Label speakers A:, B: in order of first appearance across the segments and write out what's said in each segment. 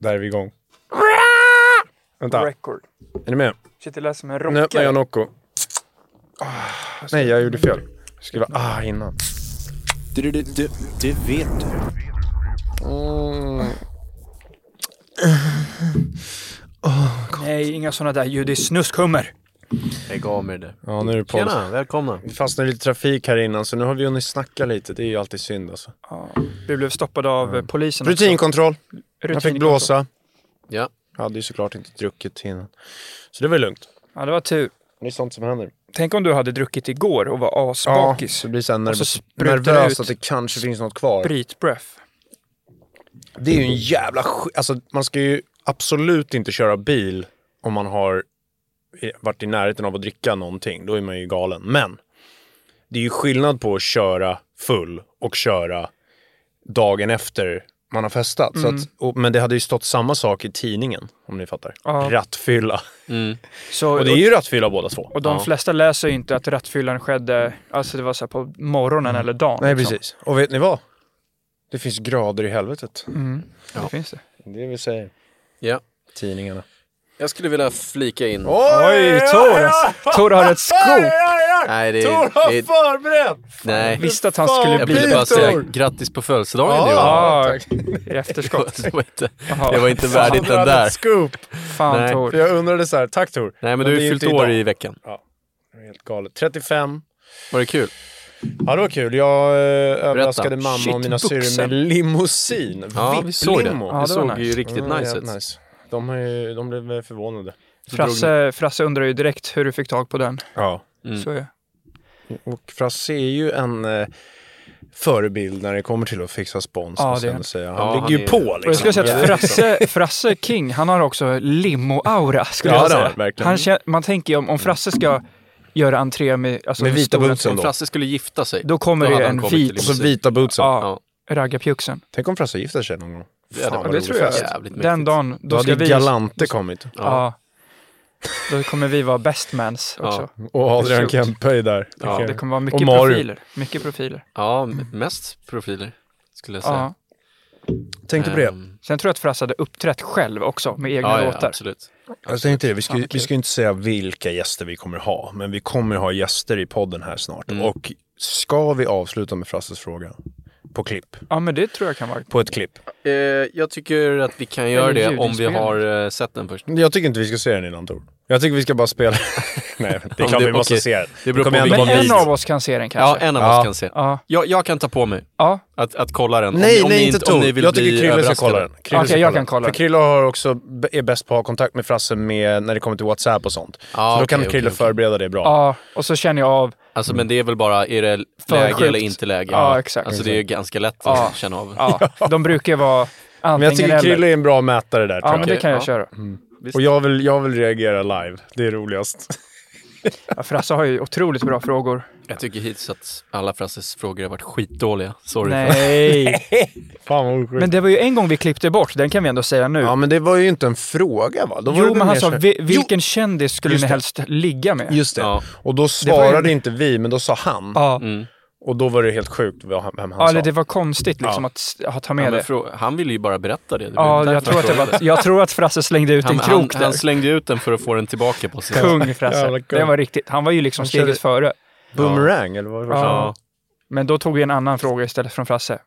A: Där är vi igång. Vänta,
B: Record.
A: är ni med?
B: Shit, det lät som en
A: Nu öppnar
B: rockare.
A: jag Nocco. Ah, nej, jag gjorde fel. Jag skulle ha ah innan.
C: Du, du, du, du, du vet du.
B: Nej, inga sådana där ljud. Det är snuskhummer.
C: Lägg av med det där.
A: Ja, nu är det på.
C: Tjena, välkomna.
A: Vi fastnade i lite trafik här innan, så nu har vi hunnit snacka lite. Det är ju alltid synd alltså.
B: Vi blev stoppade av eh, polisen. också.
A: Rutinkontroll. Jag fick
B: Rutinkontroll.
A: blåsa.
C: Ja,
A: Jag hade ju såklart inte druckit innan. Så det var ju lugnt.
B: Ja, det var tur.
A: Det är sånt som händer.
B: Tänk om du hade druckit igår och var asbakis.
A: så blir sen
B: Och så
A: nervös,
B: sprutar det ut.
A: nervös att det kanske finns något kvar.
B: Sprit breath.
A: Det är ju en jävla sk- Alltså man ska ju absolut inte köra bil om man har eh, varit i närheten av att dricka någonting. Då är man ju galen. Men det är ju skillnad på att köra full och köra dagen efter man har festat. Så att, och, men det hade ju stått samma sak i tidningen, om ni fattar.
B: Ja.
A: Rattfylla.
B: Så,
A: Och det är ju rattfylla båda två.
B: och de flesta läser ju inte att rattfyllan skedde, alltså det var så här på morgonen eller dagen.
A: Mm. Nej,
B: liksom.
A: precis. Och vet ni vad? Det finns grader i helvetet.
B: Det finns det.
A: Det vill säga
C: ja.
A: tidningarna.
C: Jag skulle vilja flika in.
B: Oj, Toras! Tor har ett scoop!
C: Nej, det,
A: Tor har
C: det,
A: förberett!
C: nej.
B: Visste att han
A: Fan,
B: skulle
C: Jag
A: vad
B: bli
C: ville
A: blir
C: bara säga
A: Tor.
C: grattis på födelsedagen
A: Ja.
C: det var.
B: Ja, i efterskott.
C: Det var inte,
B: Jaha.
C: det var inte värdigt
A: Andra
C: den
A: hade
C: där.
A: ett scoop.
B: Fan
C: Nej.
B: Tor.
A: För jag undrade så här, tack Tor.
C: Nej, men du har
A: det är
C: ju fyllt
A: inte
C: år
A: idag.
C: i veckan.
A: Det är Helt galet. 35.
C: Var det kul?
A: Ja, det var kul. Jag eh, överraskade mamma
B: Shit,
A: och mina syrror
B: buxen.
A: med limousin.
C: Ja, vi såg det.
A: VIP-limo.
B: Ja, det
C: det
B: var
C: såg ju
B: nice.
C: riktigt
A: Ja,
C: nice ut.
A: jävligt nice. De, har ju, de blev eh, förvånade.
B: Frasse, Frasse undrar ju direkt hur du fick tag på den.
A: Ja.
B: Så, ja.
A: Och Frasse är ju en eh, förebild när det kommer till att fixa spons.
B: Ja,
A: måste
B: det är
A: jag
B: han.
A: ändå säga. Han
C: Ja,
A: ligger
C: han
A: ju
C: är-
A: på liksom.
B: Och jag skulle säga att
A: Ja,
B: Frasse, Frasse King, han har också limo-aura. Skulle
A: Ja,
B: jag
A: det har
B: säga.
A: han verkligen.
C: Mm.
B: Han, kän- man tänker ju om, om Frasse ska göra entré med, alltså
A: Med
B: med
A: vita
B: stora-
A: bootsen
C: Om
A: då.
C: Frasse skulle gifta sig.
B: Då kommer
C: hade
B: det
C: han
B: en
C: kommit till
B: vit-
A: Och
C: Lycksele.
A: så vita bootsen.
B: Ja,
C: Ja.
B: raggarpjuxen.
A: Tänk om Frasse gifter sig någon gång.
C: Det hade
A: Fan,
C: varit
A: vad
B: det tror jag.
A: roligt.
C: Jävligt
B: Den
C: mäktigt.
B: dagen, då
A: Då
B: ska
A: hade
B: vi...
A: Galante kommit.
B: Ja. Då kommer vi vara best mans också.
A: Och Adrian Kempe är där.
C: Ja,
B: Det
A: Okej.
B: kommer vara
A: Och
B: mycket
A: Mario.
B: profiler. Mycket profiler.
C: Ja, m- mest profiler skulle jag säga.
B: Ja.
A: Tänkte på det.
C: Ehm,
B: Sen tror jag att Frasse hade uppträtt själv också med egna
C: ja, ja,
B: låtar.
C: absolut.
A: Jag tänkte det, vi ska,
B: Fan,
A: ju-
B: vad
A: vi
B: kul.
A: ska ju inte säga vilka gäster vi kommer ha, men vi kommer ha gäster i podden här snart.
C: Mm.
A: Och ska vi avsluta med Frasses fråga? På klipp.
B: Ja, men det tror jag kan vara...
A: På ett klipp.
C: Eh, jag tycker att vi kan göra det om vi
B: ljudinspelning.
C: har eh, sett den först.
A: Jag tycker inte vi ska se den innan Tor. Jag tycker vi ska bara spela. Nej, det är klart
C: det-
A: vi måste
C: okej.
A: se den.
C: Det beror
A: Kom igen,
C: på
A: det var
B: Men
C: vilken-
B: en
A: vid.
B: av oss kan se den
C: Ja,
B: kanske.
C: en av
A: Ja.
C: oss kan se.
B: Ja.
C: Jag, jag kan ta på mig
B: Ja.
C: att, att kolla den.
A: Nej, nej,
C: ni
A: inte
C: om
A: Tor.
C: ni vill
A: Jag tycker
C: bli
A: Krille ska
C: överraskade.
A: kolla den. Krille
B: Okej,
A: ska
B: jag kan kolla
A: För
B: den.
A: Krille har också, är bäst på att ha kontakt med Frasse med, när det kommer till WhatsApp och sånt.
C: Ja,
A: så då kan
C: Ah, okej,
A: Krille
C: okej, okej.
A: förbereda det bra.
B: Ja, och så känner jag av...
C: Alltså, men det är väl bara, är det
B: För
C: läge
B: sjukt.
C: eller inte läge?
B: Ja, exakt.
C: Alltså det är ganska lätt att
B: Ja.
C: känna av.
B: Ja, de brukar ju vara
A: Men jag
B: antingen
A: tycker
B: eller.
A: Krille är Mm. en bra mätare där tror
B: Ja,
A: jag.
B: men det kan jag
C: Ja.
B: köra.
A: Och jag vill, jag vill reagera live. Det är roligast.
B: Ja, Frasse har ju otroligt bra frågor.
C: Jag tycker hittills att alla Frasses frågor har varit skitdåliga. Sorry. För.
B: Nej.
A: Fan vad osjukt.
B: Men det var ju en gång vi klippte bort, den kan vi ändå säga nu.
A: Ja, men det var ju inte en fråga va? Då var det
B: jo,
A: väl
B: men han
A: mer
B: sa
A: så här-
B: "Vi- vilken kändis skulle
A: Just
B: ni
A: det.
B: helst ligga med?
A: Jo, just det.
C: Ja.
A: Och då
B: var ju-
A: svarade inte vi, men då sa han.
B: ja,
C: Mm,
A: Och då var det helt sjukt vad han, vem han
B: ja
A: sa.
B: eller det var konstigt liksom att, s- att ta med
C: Ja, men
B: det.
C: frå- han ville ju bara berätta det. det. var
B: Ja,
C: därför
B: jag tror, att det var,
C: frågade.
B: jag tror att Frasse slängde ut en
C: han, han,
B: krok där.
C: han slängde ut den för att få den tillbaka på sig.
B: Kung Frasse.
A: Jävla kung.
B: Det var riktigt. Han var ju liksom
A: Han körde-
B: steget före.
A: Boomerang, eller vad var det?
B: Ja. Men då tog vi en annan fråga istället från Frasse.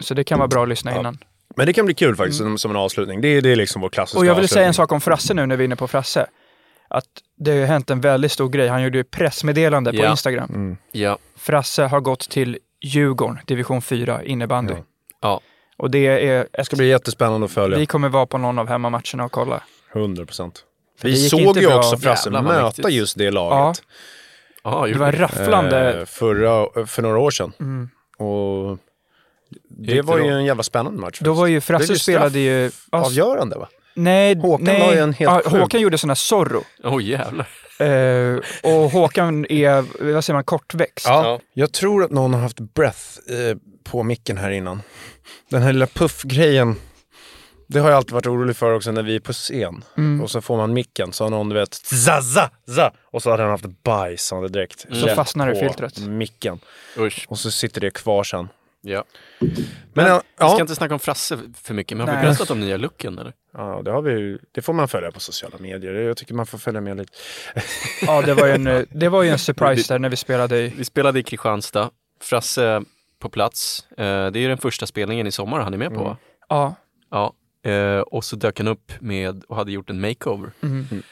B: Så det kan vara bra att lyssna innan.
A: Men det kan bli kul faktiskt, som- som en avslutning. Det, är- det är liksom vår klassiska
B: Mm. Och jag vill
A: avslutning.
B: säga en sak om Frasse nu när vi är inne på Frasse. Att det har ju hänt en väldigt stor grej. Han gjorde ju pressmeddelande på
C: Ja.
B: Instagram.
C: Ja.
B: Frasse har gått till Djurgården, division 4, innebandy.
C: Ja.
B: Och det är
A: Det
B: ett,
A: ska bli jättespännande att följa.
B: vi kommer vara på någon av hemmamatcherna och kolla.
A: 100 procent.
B: det
A: Vi
B: gick
A: såg
B: inte
A: ju
B: bra.
A: också Frasse
C: Jävlar, vad
A: möta
C: mäktigt.
A: just det laget.
C: Ja,
B: Det
C: gjorde
B: var
C: det.
B: rafflande. Mm.
A: eh, Förra, för några år sedan. Och det, var
C: det
A: ju
C: då?
A: en jävla spännande match.
B: Då var ju
A: Det blev
B: Frasse
A: ju
B: spelade ju... Ass-
A: Avgörande va?
B: nej,
A: Håkan
B: nej.
A: la ju en helt
B: ja,
A: sjuk-
B: Håkan gjorde sån här Zorro.
C: Åh jävlar.
B: Eh, och Håkan är, vad säger man, kortväxt.
A: Ja. Jag tror att någon har haft breath eh, på micken här innan. Den här lilla puffgrejen. Det har jag alltid varit orolig för också när vi är på scen.
B: Mm.
A: Och så får man micken, så har någon du vet, za, za, za. Och så hade han haft bajs han hade direkt.
B: Så
A: rätt
B: fastnar det i
A: på
B: filtret.
A: micken.
C: Usch.
A: Och så sitter det kvar sen.
C: Ja.
A: Men, ja,
C: Vi ska
A: ja.
C: inte snacka om Frasse för mycket, men har
B: Nej.
C: vi berättat om nya looken eller?
A: ja det, har vi, ju- det får man följa på sociala medier. Jag tycker man får följa med lite.
B: Ja, det var ju en, eh, det var ju en surprise där när vi spelade i...
C: Vi spelade i Kristianstad, Frasse på plats. Eh, Det är ju den första spelningen i sommar han är med på
B: Mm.
C: va?
B: Ja,
C: Ja. Eh, Och så dök han upp med och hade gjort en makeover.
B: Mm.
C: Mm.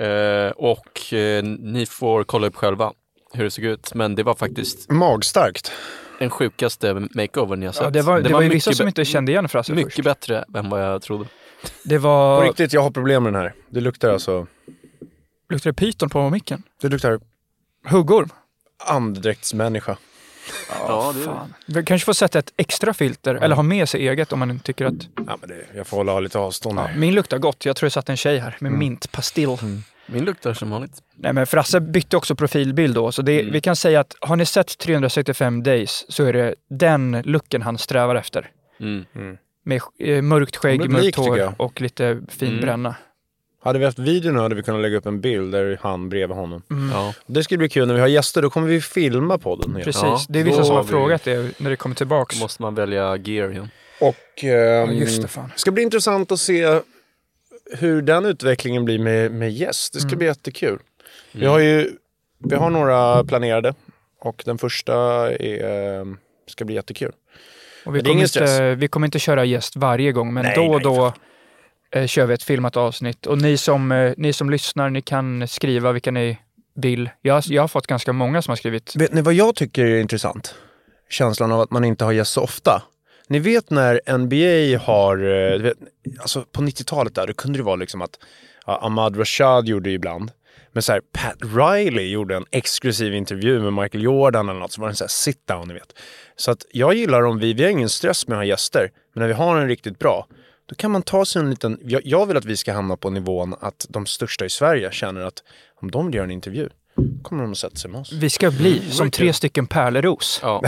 C: Eh, Och eh, ni får kolla upp själva hur det såg ut, men det var faktiskt
A: Magstarkt.
C: den sjukaste makeovern jag sett.
B: ja det var, det var ju vissa
C: mycket
B: som
C: bä-
B: inte kände igen Frasse
C: Mycket
B: först.
C: bättre än vad jag trodde.
B: Det
A: På
B: var...
A: riktigt, jag har problem med den här. Det luktar alltså...
B: Luktar det pyton på micken?
A: Det luktar
B: Huggorm?
A: andedräktsmänniska.
C: Ja, det
B: Fan. Vi kanske får sätta ett extra filter, eller ha med sig eget om man inte tycker att...
A: Ja, men det, jag får hålla lite avstånd
B: Ja,
A: här.
B: min luktar gott. Jag tror det satt en tjej här med mintpastill.
C: Min luktar som vanligt.
B: Nej, men Frasse bytte också profilbild då, så det, vi kan säga att har ni sett 365 days så är det den looken han strävar efter.
C: Mm.
B: Med eh, mörkt
A: Det
B: skägg,
A: blir
B: mörkt
A: lik, tycker
B: hår
A: jag.
B: och lite fin bränna.
A: Hade vi haft video nu hade vi kunnat lägga upp en bild där han bredvid honom.
C: Ja.
A: Det skulle bli kul när vi har gäster, då kommer vi filma podden. igen.
B: Precis,
C: Ja,
B: det är vissa
A: då
B: som har
A: har vi-
B: frågat det när det kommer tillbaks.
C: Då måste man välja gear igen.
A: Och ehm,
B: Ja, just det, fan.
A: ska bli intressant att se hur den utvecklingen blir med, med gäst.
B: Mm.
A: Det ska bli jättekul. Vi har ju vi har några planerade och den första är, ehm, ska bli jättekul.
B: Och vi,
A: Men det är
B: kommer
A: ingen
B: inte, vi kommer inte köra gäst varje gång, men
A: Nej,
B: då och
A: nej,
B: då eh, kör vi ett filmat avsnitt. Och ni som, eh, ni som lyssnar, ni kan skriva vilka ni vill. Jag, jag har fått ganska många som har skrivit.
A: Vet ni vad jag tycker är intressant? Känslan av att man inte har gäst så ofta. Ni vet när NBA har, eh, du vet, alltså på 90-talet där, då kunde det vara liksom att ja, Ahmad Rashad gjorde det ibland. Men så här, Pat Riley gjorde en exklusiv intervju med Michael Jordan eller något, så var det en sån här sit down, ni vet. Så att jag gillar om vi, vi har ingen stress med att ha gäster, men när vi har en riktigt bra, då kan man ta sig en liten, jag, jag vill att vi ska hamna på nivån att de största i Sverige känner att om de gör en intervju, kommer de att sätta sig med oss.
B: Vi ska
A: Mm.
B: bli som tre stycken pärleros.
C: Ja.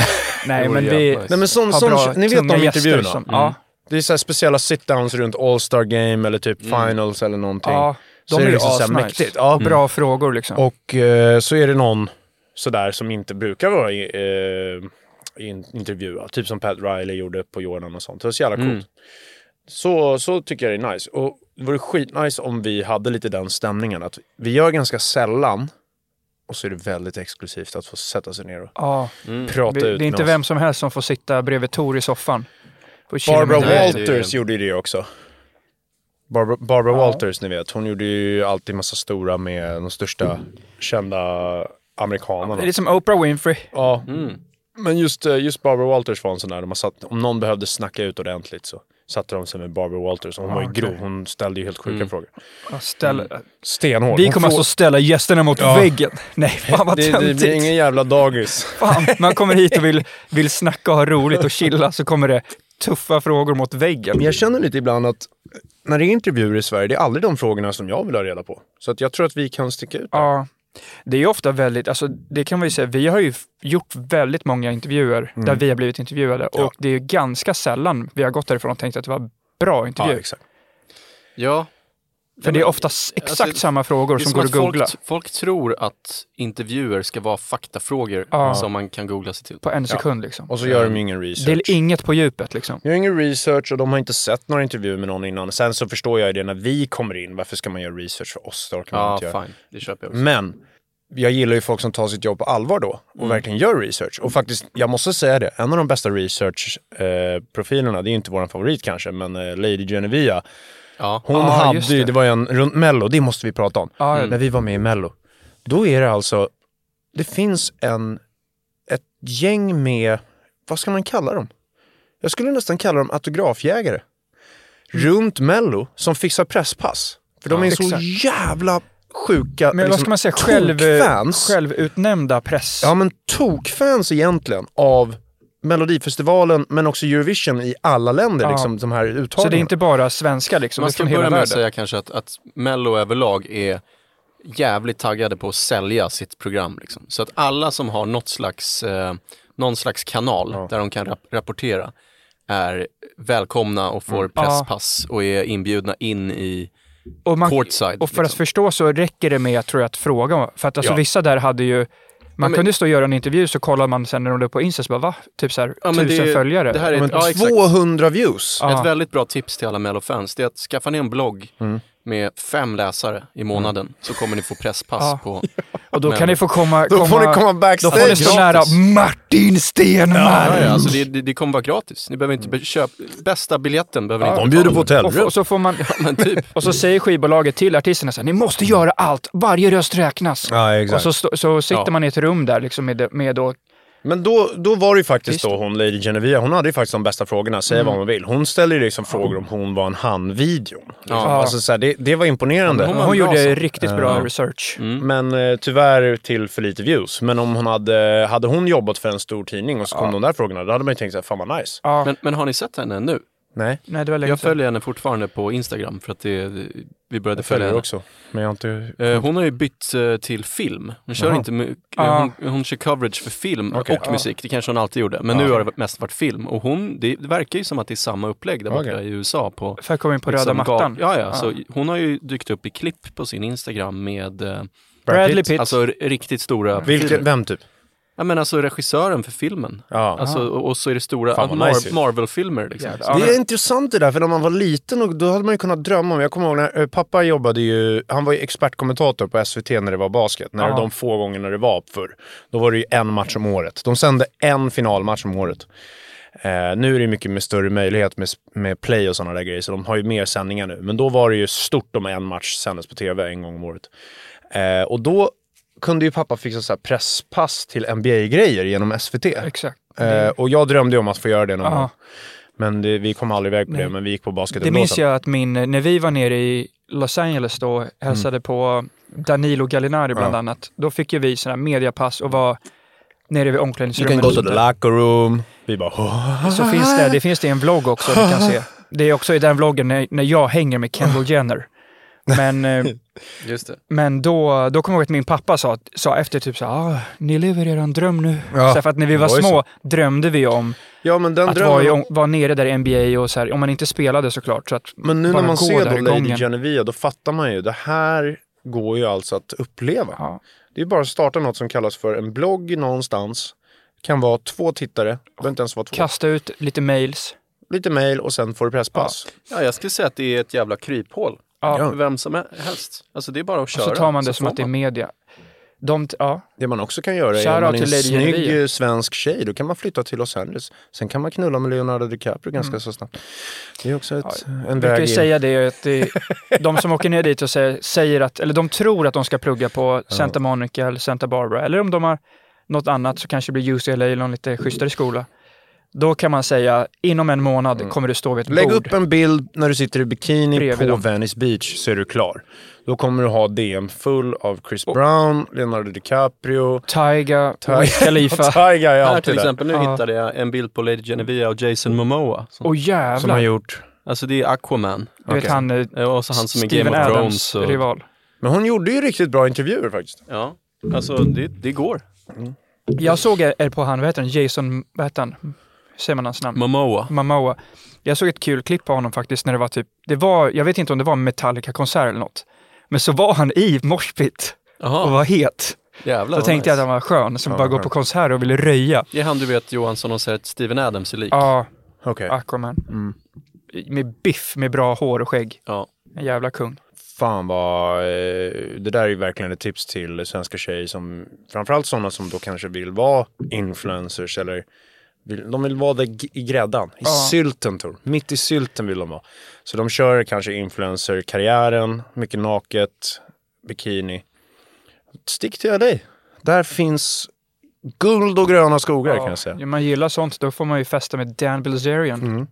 B: Nej,
C: vore
B: men
C: jävla
B: vi
C: nice.
A: Nej men sån,
B: har
A: sån,
B: bra,
A: ni vet
B: tunga
A: de
B: gäster
A: intervjuerna?
B: som-
A: Mm.
B: ja.
A: Det är så här speciella sit-downs runt All-Star Game eller typ Finals eller någonting.
B: Mm. Ja,
A: Så
B: de
A: är det
B: är ju
A: liksom så här
B: asnice.
A: mäktigt.
B: Ja,
A: Ja.
B: bra frågor liksom.
A: Och eh, så är det någon sådär som inte brukar vara i, eh, in, intervjuad. Typ som Pat Riley gjorde på Jordan och sånt. Det var så jävla
B: Mm.
A: coolt. Så, så tycker jag det är nice. Och det vore skitnice om vi hade lite den stämningen. Att vi gör ganska sällan och så är det väldigt exklusivt att få sätta sig ner och
B: ja,
A: prata
B: Mm. vi,
A: ut
B: det är
A: med
B: inte
A: oss.
B: vem som helst som får sitta bredvid Tor i soffan. och chilla
A: Barbara
B: med dig.
C: Nej, det är-
A: Walters gjorde ju det också. Barbara, Barbara Walters, ni vet. Hon gjorde ju alltid massa stora med de största kända
B: Det
A: amerikanerna.
B: är lite som Oprah Winfrey.
A: Ja. Men just, eh, just Barbara Walters var en sån där, de har satt, om någon behövde snacka ut ordentligt så satte de sig med Barbara Walters. Hon var ju grov, hon ställde ju helt sjuka frågor.
B: Ja, Ställ,
A: Stenhård.
B: vi
A: Hon
B: kommer
A: frå-
B: alltså ställa gästerna mot
A: Ja.
B: väggen. Nej, fan vad
A: det, det
B: töntigt.
A: blir ingen jävla dagis.
B: Fan, man kommer hit och vill, vill snacka och ha roligt och chilla så kommer det tuffa frågor mot väggen.
A: Men jag känner lite ibland att när det är intervjuer i Sverige, det är aldrig de frågorna som jag vill ha reda på. Så att jag tror att vi kan sticka ut.
B: Ja, det är ju ofta väldigt, alltså det kan man ju säga, vi har ju f- gjort väldigt många intervjuer där vi har blivit intervjuade
A: Ja.
B: och det är ju ganska sällan vi har gått därifrån och tänkt att det var bra intervju.
A: Ja, exakt.
C: ja.
B: För det är ofta s- exakt
C: Alltså,
B: samma frågor
C: Det är
B: som
C: som
B: går
C: att
B: att googla
C: folk, folk tror att intervjuer ska vara faktafrågor
B: Ja.
C: som man kan googla sig till.
B: på en sekund liksom.
A: Och så gör de ju ingen research.
B: Det är inget på djupet liksom.
A: Jag har ingen research och de har inte sett några intervjuer med någon innan. Sen så förstår jag ju det när vi kommer in. Varför ska man göra research för oss? Det orkar man
C: Ja,
A: inte göra.
C: fine. Det köper jag
B: Mm.
C: också.
A: Typ. Men jag gillar ju folk som tar sitt jobb på allvar då och
B: Mm.
A: verkligen gör research. Och faktiskt, jag måste säga det, en av de bästa research-profilerna, eh, det är ju inte vår favorit kanske, men eh, Lady Genevieve.
C: Ja.
A: Hon
B: Ah,
A: hade
B: just
A: ju,
B: det.
A: det. var ju en, runt Mello, det måste vi prata om.
B: Ja,
A: När vi var med i Mello. Då är det alltså, det finns en, ett gäng med, vad ska man kalla dem? Jag skulle nästan kalla dem autografjägare.
B: Mm.
A: Runt Mello, som fixar presspass. För de är så
B: exakt.
A: jävla sjuka,
B: Men liksom vad ska man säga, själv,
A: Liksom tokfans.
B: självutnämnda press.
A: Ja men tokfans egentligen av Melodifestivalen, men också Eurovision i alla länder,
B: Ja.
A: liksom de här
B: Så det är
A: uttagningarna.
B: inte bara svenska liksom,
C: Man
B: det är
C: ska
B: från hela
C: börja med
B: världen.
C: att säga kanske att, att Mello överlag är jävligt taggade på att sälja sitt program. Liksom. Så att alla som har något slags, eh, någon slags kanal där de kan rap- rapportera är välkomna och
B: Mm.
C: får presspass och är inbjudna in i
B: och, man,
C: courtside.
B: och för att
C: liksom.
B: förstå så räcker det med tror jag, att fråga. För att alltså,
A: Ja.
B: vissa där hade ju, man
C: men-
B: kunde stå och göra en intervju så kollar man sen när de la upp på Insta så bara va? Typ så här,
C: Ja, men det är
B: tusen
C: ju-
B: följare.
C: Det här är
A: Men
C: ett, ja, exakt.
A: 200 views!
B: Ja.
C: Ett väldigt bra tips till alla Mello-fans det är att skaffa ner en blogg
A: Mm.
C: med fem läsare i månaden så kommer ni få presspass
B: Ja.
C: på...
B: och då
C: men-
B: kan ni få komma,
A: Då får ni komma
B: Då
A: backstage.
B: får ni stå nära
C: gratis.
B: Martin Stenmarck.
C: Ja, ja, alltså det, det, det kommer vara gratis. Ni behöver inte be- köpa... Bästa biljetten behöver ni inte
A: De bjuder på
B: Och, f-
A: hotellrum.
B: och så får man...
C: Men typ.
B: Och så säger skivbolaget till artisterna så här, ni måste göra allt, varje röst räknas.
A: Ja,
B: och
A: exakt.
B: så, stå- så sitter
C: Ja.
B: man i ett rum där liksom med, med då,
A: Men då, då var det ju faktiskt
B: Just
A: då hon, Lady Genevieve, hon hade ju faktiskt de bästa frågorna,
B: Mm.
A: säga vad man vill. Hon ställde ju liksom frågor om hon var en han-videon. Alltså, så här, det, det var imponerande.
B: hon,
C: Hon var bra Mm.
B: gjorde
C: sak.
B: riktigt bra research.
A: Men eh, tyvärr till för lite views. Men om hon hade, hade hon jobbat för en stor tidning och så kom de där frågorna, då hade man ju tänkt såhär, fan vad nice.
B: Ja,
C: Men, men har ni sett henne nu?
A: Nej,
B: nej det var länge
C: Jag
B: sedan.
C: följer henne fortfarande på Instagram för att det, vi började
A: jag
C: följa
A: följer
C: henne.
A: också. Men jag har inte...
C: Eh, Hon har ju bytt eh, till film. Hon kör
A: Jaha.
C: inte mu- eh,
B: Ah.
C: hon, hon kör coverage för film
A: Okej. ah.
C: och musik. Det kanske hon alltid gjorde. Men nu har det mest varit film. Och hon, det, det verkar ju som att det är samma upplägg där borta
A: Okej.
C: i USA på
B: För att komma in på röda
C: liksom
B: mattan.
C: gal- Ja, ja. Så hon har ju dykt upp i klipp på sin Instagram med eh,
B: Bradley Pitt.
C: alltså r- riktigt stora
A: Vilken,
C: profiler.
A: vem typ?
C: Ja, men alltså regissören för filmen.
A: Ja.
C: Alltså, och, och så är det stora
A: Fan, vad
C: Mar-
A: nice ju.
C: Marvel-filmer. Liksom.
B: Jävlar.
C: Så-
B: Ja,
A: Det är
B: men-
A: intressant det där, för när man var liten och då hade man ju kunnat drömma om, jag kommer ihåg när eh, pappa jobbade ju, han var ju expertkommentator på SVT när det var basket, när
B: Ja.
A: de få gångerna det var förr. Då var det ju en match om året. De sände en finalmatch om året. Eh, nu är det ju mycket med större möjlighet med, med play och sådana där grejer, så de har ju mer sändningar nu. Men då var det ju stort om en match sändes på tv en gång om året. Eh, och då kunde ju pappa fixa så här presspass till NBA-grejer genom SVT.
B: Exakt.
A: Eh, och jag drömde ju om att få göra det någon
B: Ja.
A: gång. Men det, vi kom aldrig iväg på det,
B: Nej.
A: men vi gick på basket
B: Det minns jag att min, när vi var nere i Los Angeles då och hälsade på Danilo Gallinari bland
A: Mm. Ja.
B: annat. Då fick ju vi sådana här mediapass och var nere vid
A: You can
B: omklädningsrummet.
A: go to
B: och sånt
A: the
B: där.
A: locker room. Vi bara... "Åh."
B: Så finns det, det finns det i en vlogg också, ni kan se. Det är också i den vloggen när, när jag hänger med Kendall Jenner. Men, eh,
C: Just det.
B: men då, då kommer jag ihåg att min pappa sa, sa efter typ så här, ah, ni lever er en dröm nu.
A: Ja,
B: så här, för att när vi var
A: det var ju
B: små drömde vi om
A: Ja, men den
B: att vara,
A: drömmen...
B: i- vara nere där i NBA och så här, om man inte spelade såklart. Så att
A: Men nu när
B: bara
A: man
B: gå
A: ser
B: där
A: då
B: i
A: Lady
B: gången.
A: Genevieve, då fattar man ju. Det här går ju alltså att uppleva.
B: Ja.
A: Det är bara att starta något som kallas för en blogg någonstans. Kan vara två tittare, det behöver inte ens vara två.
B: Kasta ut lite mails.
A: Lite mail och sen får du presspass.
C: Ja, jag skulle säga att det är ett jävla kryphål.
B: Ja.
C: För vem som helst. Alltså det är bara att köra.
B: Så tar man det
C: Så
B: som
C: får
B: att det är media. De, t- ja,
A: Det man också kan göra är
B: Shout
A: om man
B: out
A: är en
B: till Lady
A: snygg
B: Genevieve.
A: eh, svensk tjej, då kan man flytta till Los Angeles. Sen kan man knulla med Leonardo DiCaprio ganska så snabbt. Det är också ett, en
B: jag
A: väg
B: Mm. brukar ju
A: in.
B: säga det att det, de som åker ner dit och säger, säger att, eller de tror att de ska plugga på Santa Monica eller Santa Barbara, eller om de har något annat så kanske det blir UCLA eller någon lite schysstare skola. Då kan man säga, inom en månad kommer du stå vid ett
A: Mm. Lägg
B: bord.
A: upp en bild när du sitter i bikini
B: Bredvid
A: på
B: dem.
A: Venice Beach så är du klar. Då kommer du ha DM full av Chris Brown, Leonardo DiCaprio,
B: Taiga, Wiz Khalifa.
A: Tiger är
C: Här
A: alltid
C: till
A: där.
C: exempel, nu
B: Ja.
C: hittade jag en bild på Lady Genevieve och Jason Momoa. Som,
B: Åh
A: Som har
B: jävlar!
A: gjort.
C: Alltså det är Aquaman.
B: Du vet
A: Okej.
B: han, eh,
C: Eh, Och så han som är
B: Steven
C: Game of
B: Adams
C: Thrones. Och,
B: rival.
A: Men hon gjorde ju riktigt bra intervjuer faktiskt.
C: ja, alltså det, det går.
B: Jag såg er er på han, vad heter han, Jason, vad heter han? Säger man hans namn?
C: Momoa.
B: Momoa. Jag såg ett kul klipp på honom faktiskt när det var typ, det var, jag vet inte om det var en Metallica-konsert eller något. Men så var han i moshpit och
C: Jaha,
B: var het.
C: jävlar
B: Då
C: vad
B: tänkte jag att
C: nice.
B: han var skön som
A: Ja,
B: bara går
A: ja.
B: på konserter och ville röja.
C: Det är han du vet Johan som de säger att Steven Adams är lik.
B: Ja,
A: Okej.
B: Aquaman.
A: Mm.
B: Med biff, med bra hår och skägg.
C: Ja.
B: En jävla kung.
A: Fan vad... eh, Det där är ju verkligen ett tips till svenska tjejer som... Framförallt sådana som då kanske vill vara influencers eller... vill- De vill vara där g- i gräddan, i
B: Ja.
A: sylten tror jag. Mitt i sylten vill de vara. Så de kör kanske influencer-karriären, mycket naket, bikini. Stick till LA. Där finns guld och gröna skogar kan jag säga. Mm.
B: Ja, man gillar sånt, då får man ju festa med Dan Bilzerian.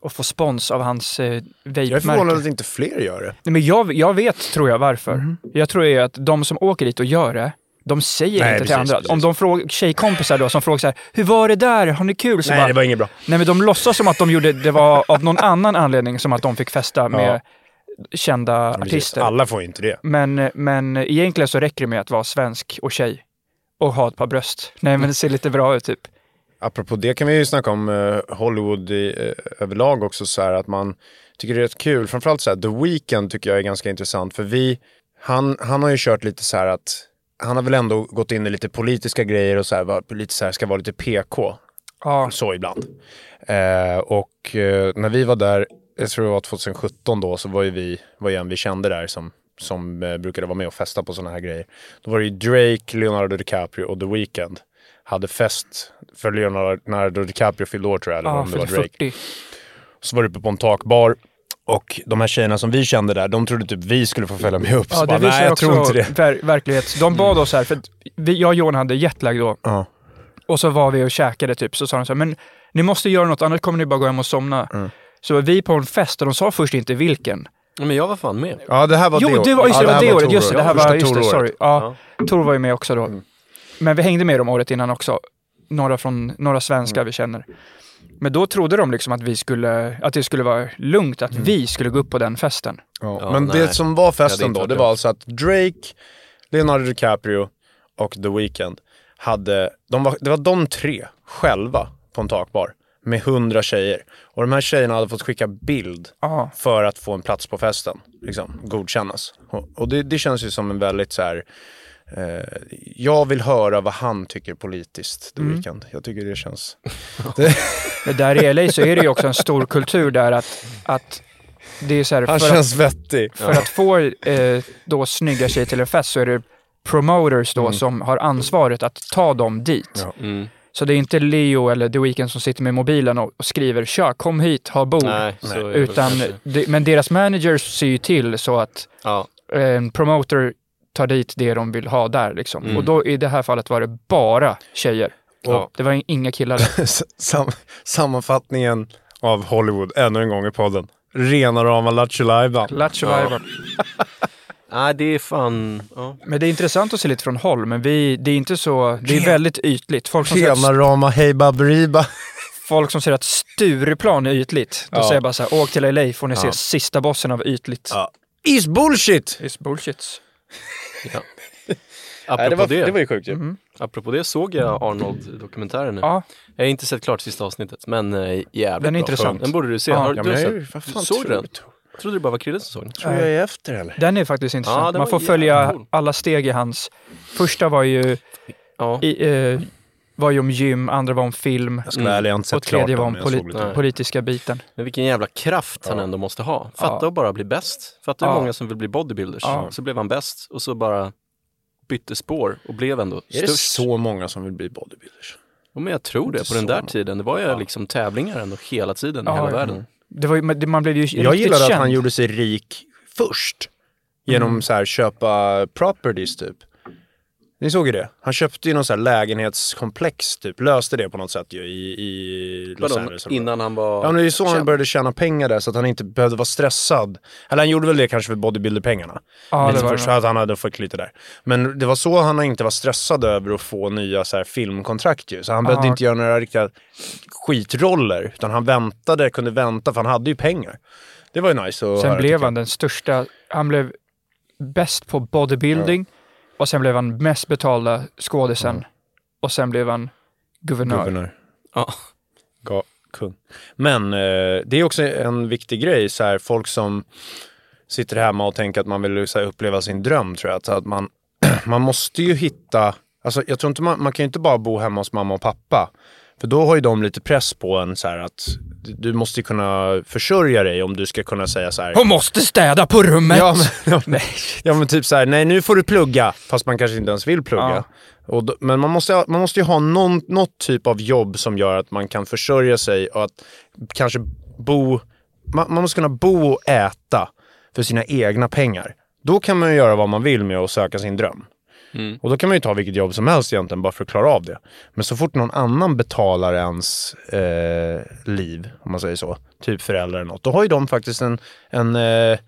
B: Och få spons av hans eh,
A: Jag är förvånad
B: vape-märke.
A: att inte
B: Typ
A: fler gör det. Mhm.
B: Nej, men jag, jag vet, tror jag, varför. Jag tror ju att de som åker dit och gör det, De säger
A: Nej,
B: inte
A: precis,
B: till andra.
A: precis.
B: Om de frågar tjejkompisar då som frågar så här, hur var det där? Har ni kul? Så
A: Nej,
B: bara,
A: det var inget bra.
B: Nej men de låtsas som att de gjorde, det var av någon annan anledning som att de fick festa med kända
A: Precis.
B: artister.
A: Alla får ju inte det.
B: Men, men egentligen så räcker det med att vara svensk och tjej och ha ett par bröst. Nej men det ser lite bra ut typ.
A: Apropå det kan vi ju snacka om eh, Hollywood i, eh, överlag också så här att man tycker det är rätt kul. Framförallt så här The Weeknd tycker jag är ganska intressant för vi, han, han har ju kört lite så här att han har väl ändå gått in i lite politiska grejer och så här, var, lite så här ska vara lite PK
B: Ja,
A: så ibland. Eh, och eh, när vi var där, jag tror det var 2017 då, så var ju vi, var ju en vi kände där som, som eh, brukade vara med och festa på sådana här grejer. Då var det ju Drake, Leonardo DiCaprio och The Weeknd hade fest för Leonardo DiCaprio fyllde år tror jag, eller
B: ja
A: om det var
B: fyllde
A: Drake.
B: 40.
A: Så var det uppe på en takbar. Och de här tjejerna som vi kände där, de trodde typ vi skulle få följa med upp.
B: Ja,
A: så
B: det
A: bara, nej,
B: visar
A: jag tror
B: också
A: inte det. Mm.
B: ver- verklighet. De bad oss här, för att vi, jag och Johan hade jetlag då.
A: Ja.
B: Och så var vi och käkade typ, så sa de så här, men ni måste göra något, annars kommer ni bara gå hem och somna.
A: Mm.
B: Så var vi på en fest och de sa först inte vilken.
C: Men jag var fan med.
A: Ja, det här var
B: jo,
A: det
B: det var,
A: Ja,
B: just, det, var
A: här
B: det året,
A: Tor
B: just det, det här
A: året.
B: var,
A: Första
B: just det,
A: Tor-året.
B: sorry. Ja, Tor var ju med också då.
A: Mm.
B: Men vi hängde med dem året innan också. Några, från, några
A: Mm.
B: svenskar vi känner. Men då trodde de liksom att vi skulle, att det skulle vara lugnt,
A: Mm.
B: att vi skulle gå upp på den festen.
A: Ja,
C: Ja,
A: men
C: nej.
A: det som var
C: Jag hade
A: festen
C: inte
A: då,
C: varit
A: det
C: där.
A: var alltså att Drake, Leonardo DiCaprio och The Weeknd hade, de var, det var de tre själva på en takbar med hundra tjejer. Och de här tjejerna hade fått skicka bild
B: Ja,
A: för att få en plats på festen, liksom, godkännas. Och, och det, det känns ju som en väldigt så här, eh, jag vill höra vad han tycker politiskt, The Weeknd. Jag tycker det känns...
B: men där i LA så är det ju också en stor kultur där att, att det är så här,
A: Han
B: för att
A: känns vettig.
B: För att få eh, då snygga tjejer till en fest så är det promoters då som har ansvaret att ta dem dit.
A: Mm. Ja.
C: Mm.
B: Så det är inte Leo eller The Weeknd som sitter med mobilen och, och skriver “Tja, kom hit, ha bord”.
C: Nej, så är det väl
B: Utan,
C: kanske.
B: de, men deras managers ser ju till så att
C: Ja,
B: eh, en promoter tar dit det de vill ha där. Liksom. Och då i det här fallet var det bara tjejer.
C: Mm. Ja.
B: Det var inga killar där.
A: S- sam sammanfattningen av Hollywood ännu en gång i podden. Rena rama Lattjo Lajban.
B: Lattjo Lajban.
C: Nej, det är fan... Ja.
B: Men det är intressant att se lite från håll, men vi, det är inte så, det är väldigt ytligt. Folk som ser
A: Rena rama Hej Baberiba.
B: folk som säger att Stureplan är ytligt, då
A: Ja.
B: säger jag bara så här, åk till LA får ni se sista bossen av ytligt.
A: Ja. Is bullshit!
B: It's bullshit.
C: Apropå,
A: Nej,
C: det
A: det, var, det var ju sjukt ju.
C: apropå det såg jag Arnold-dokumentären nu.
B: Ja,
C: Jag har inte sett klart sista avsnittet, men eh, jävligt
B: Den är
C: bra.
B: intressant.
C: Den borde du se.
B: Ja.
C: Har,
A: Ja,
C: du
A: men
C: har
A: jag,
C: sett-
A: är ju- vad fan
C: såg
A: tror
C: du den?
A: du?
C: Trodde det bara var Krille som såg den?
A: Tror jag är efter eller?
B: den är faktiskt intressant.
C: den
B: Man
C: var
B: får
C: jävligt
B: följa
C: cool.
B: alla steg i hans. Första var ju,
C: Ja.
B: i, eh, var ju om gym, andra var om film
A: Jag ska vara ärlig, jag har inte
B: och
A: sett klart
B: tredje
A: den.
B: var om
A: men jag såg
B: polit-
A: lite.
C: Nej.
B: politiska biten.
C: Men vilken jävla kraft han ändå måste ha. Fatta
B: Ja.
C: att bara bli bäst. Fatta hur
B: Ja.
C: många som vill bli bodybuilders.
B: Ja.
C: Så blev han bäst och så bara bytte spår och blev ändå
A: Är det
C: störst.
A: så många som vill bli bodybuilders?
C: Ja, men jag tror det.
A: Inte
C: På den
A: så
C: där
A: många.
C: tiden, det var ju liksom tävlingar ändå hela tiden
B: Ja,
C: i hela
B: ja.
C: världen.
B: Det var ju, men det- man blev ju
A: Jag
B: riktigt
A: gillade
B: känd.
A: att han gjorde sig rik först. Genom så här köpa properties typ. Ni såg ju det. Han köpte ju någon så här lägenhetskomplex typ. Löste det på något sätt ju i, i Los
C: Vadå,
A: Angeles. eller vad det var.
C: innan han var...
A: Ja, men det är ju så han
C: känd.
A: började tjäna pengar där, så att han inte behövde vara stressad. Eller han gjorde väl det kanske för bodybuilderpengarna.
B: Ja, det
A: Lite
B: var
A: först,
B: det.
A: för att han hade fått lite där. Men det var så han inte var stressad över att få nya så här, filmkontrakt ju. Så han behövde
B: Ah,
A: inte göra några riktiga skitroller, utan han väntade, kunde vänta, för han hade ju pengar. Det var ju nice att
B: Sen
A: höra,
B: blev
A: tycker
B: han den största, han blev bäst på bodybuilding och sen blev han mest betalda skådisen och sen blev han
A: jag.
B: guvernör.
A: Guvernör.
C: Ja.
A: Ga- kung. Men eh, det är också en viktig grej, så här, folk som sitter hemma och tänker att man vill så här, uppleva sin dröm, tror jag. Att, att man, man måste ju hitta, alltså, jag tror inte man, man kan ju inte bara bo hemma hos mamma och pappa. För då har ju de lite press på en så här att du- du måste ju kunna försörja dig om du ska kunna säga så här.
B: Hon måste städa på rummet!
A: Ja men, ja men typ så här, nej nu får du plugga, fast man kanske inte ens vill plugga.
B: Ja.
A: Och då, men man måste, man måste ju ha någon, något typ av jobb som gör att man kan försörja sig och att kanske bo, man, man måste kunna bo och äta för sina egna pengar. Då kan man ju göra vad man vill med att söka sin dröm. Och då kan man ju ta vilket jobb som helst egentligen bara för att klara av det. Men så fort någon annan betalar ens eh, liv, om man säger så, typ föräldrar eller något, då har ju de faktiskt en, en eh,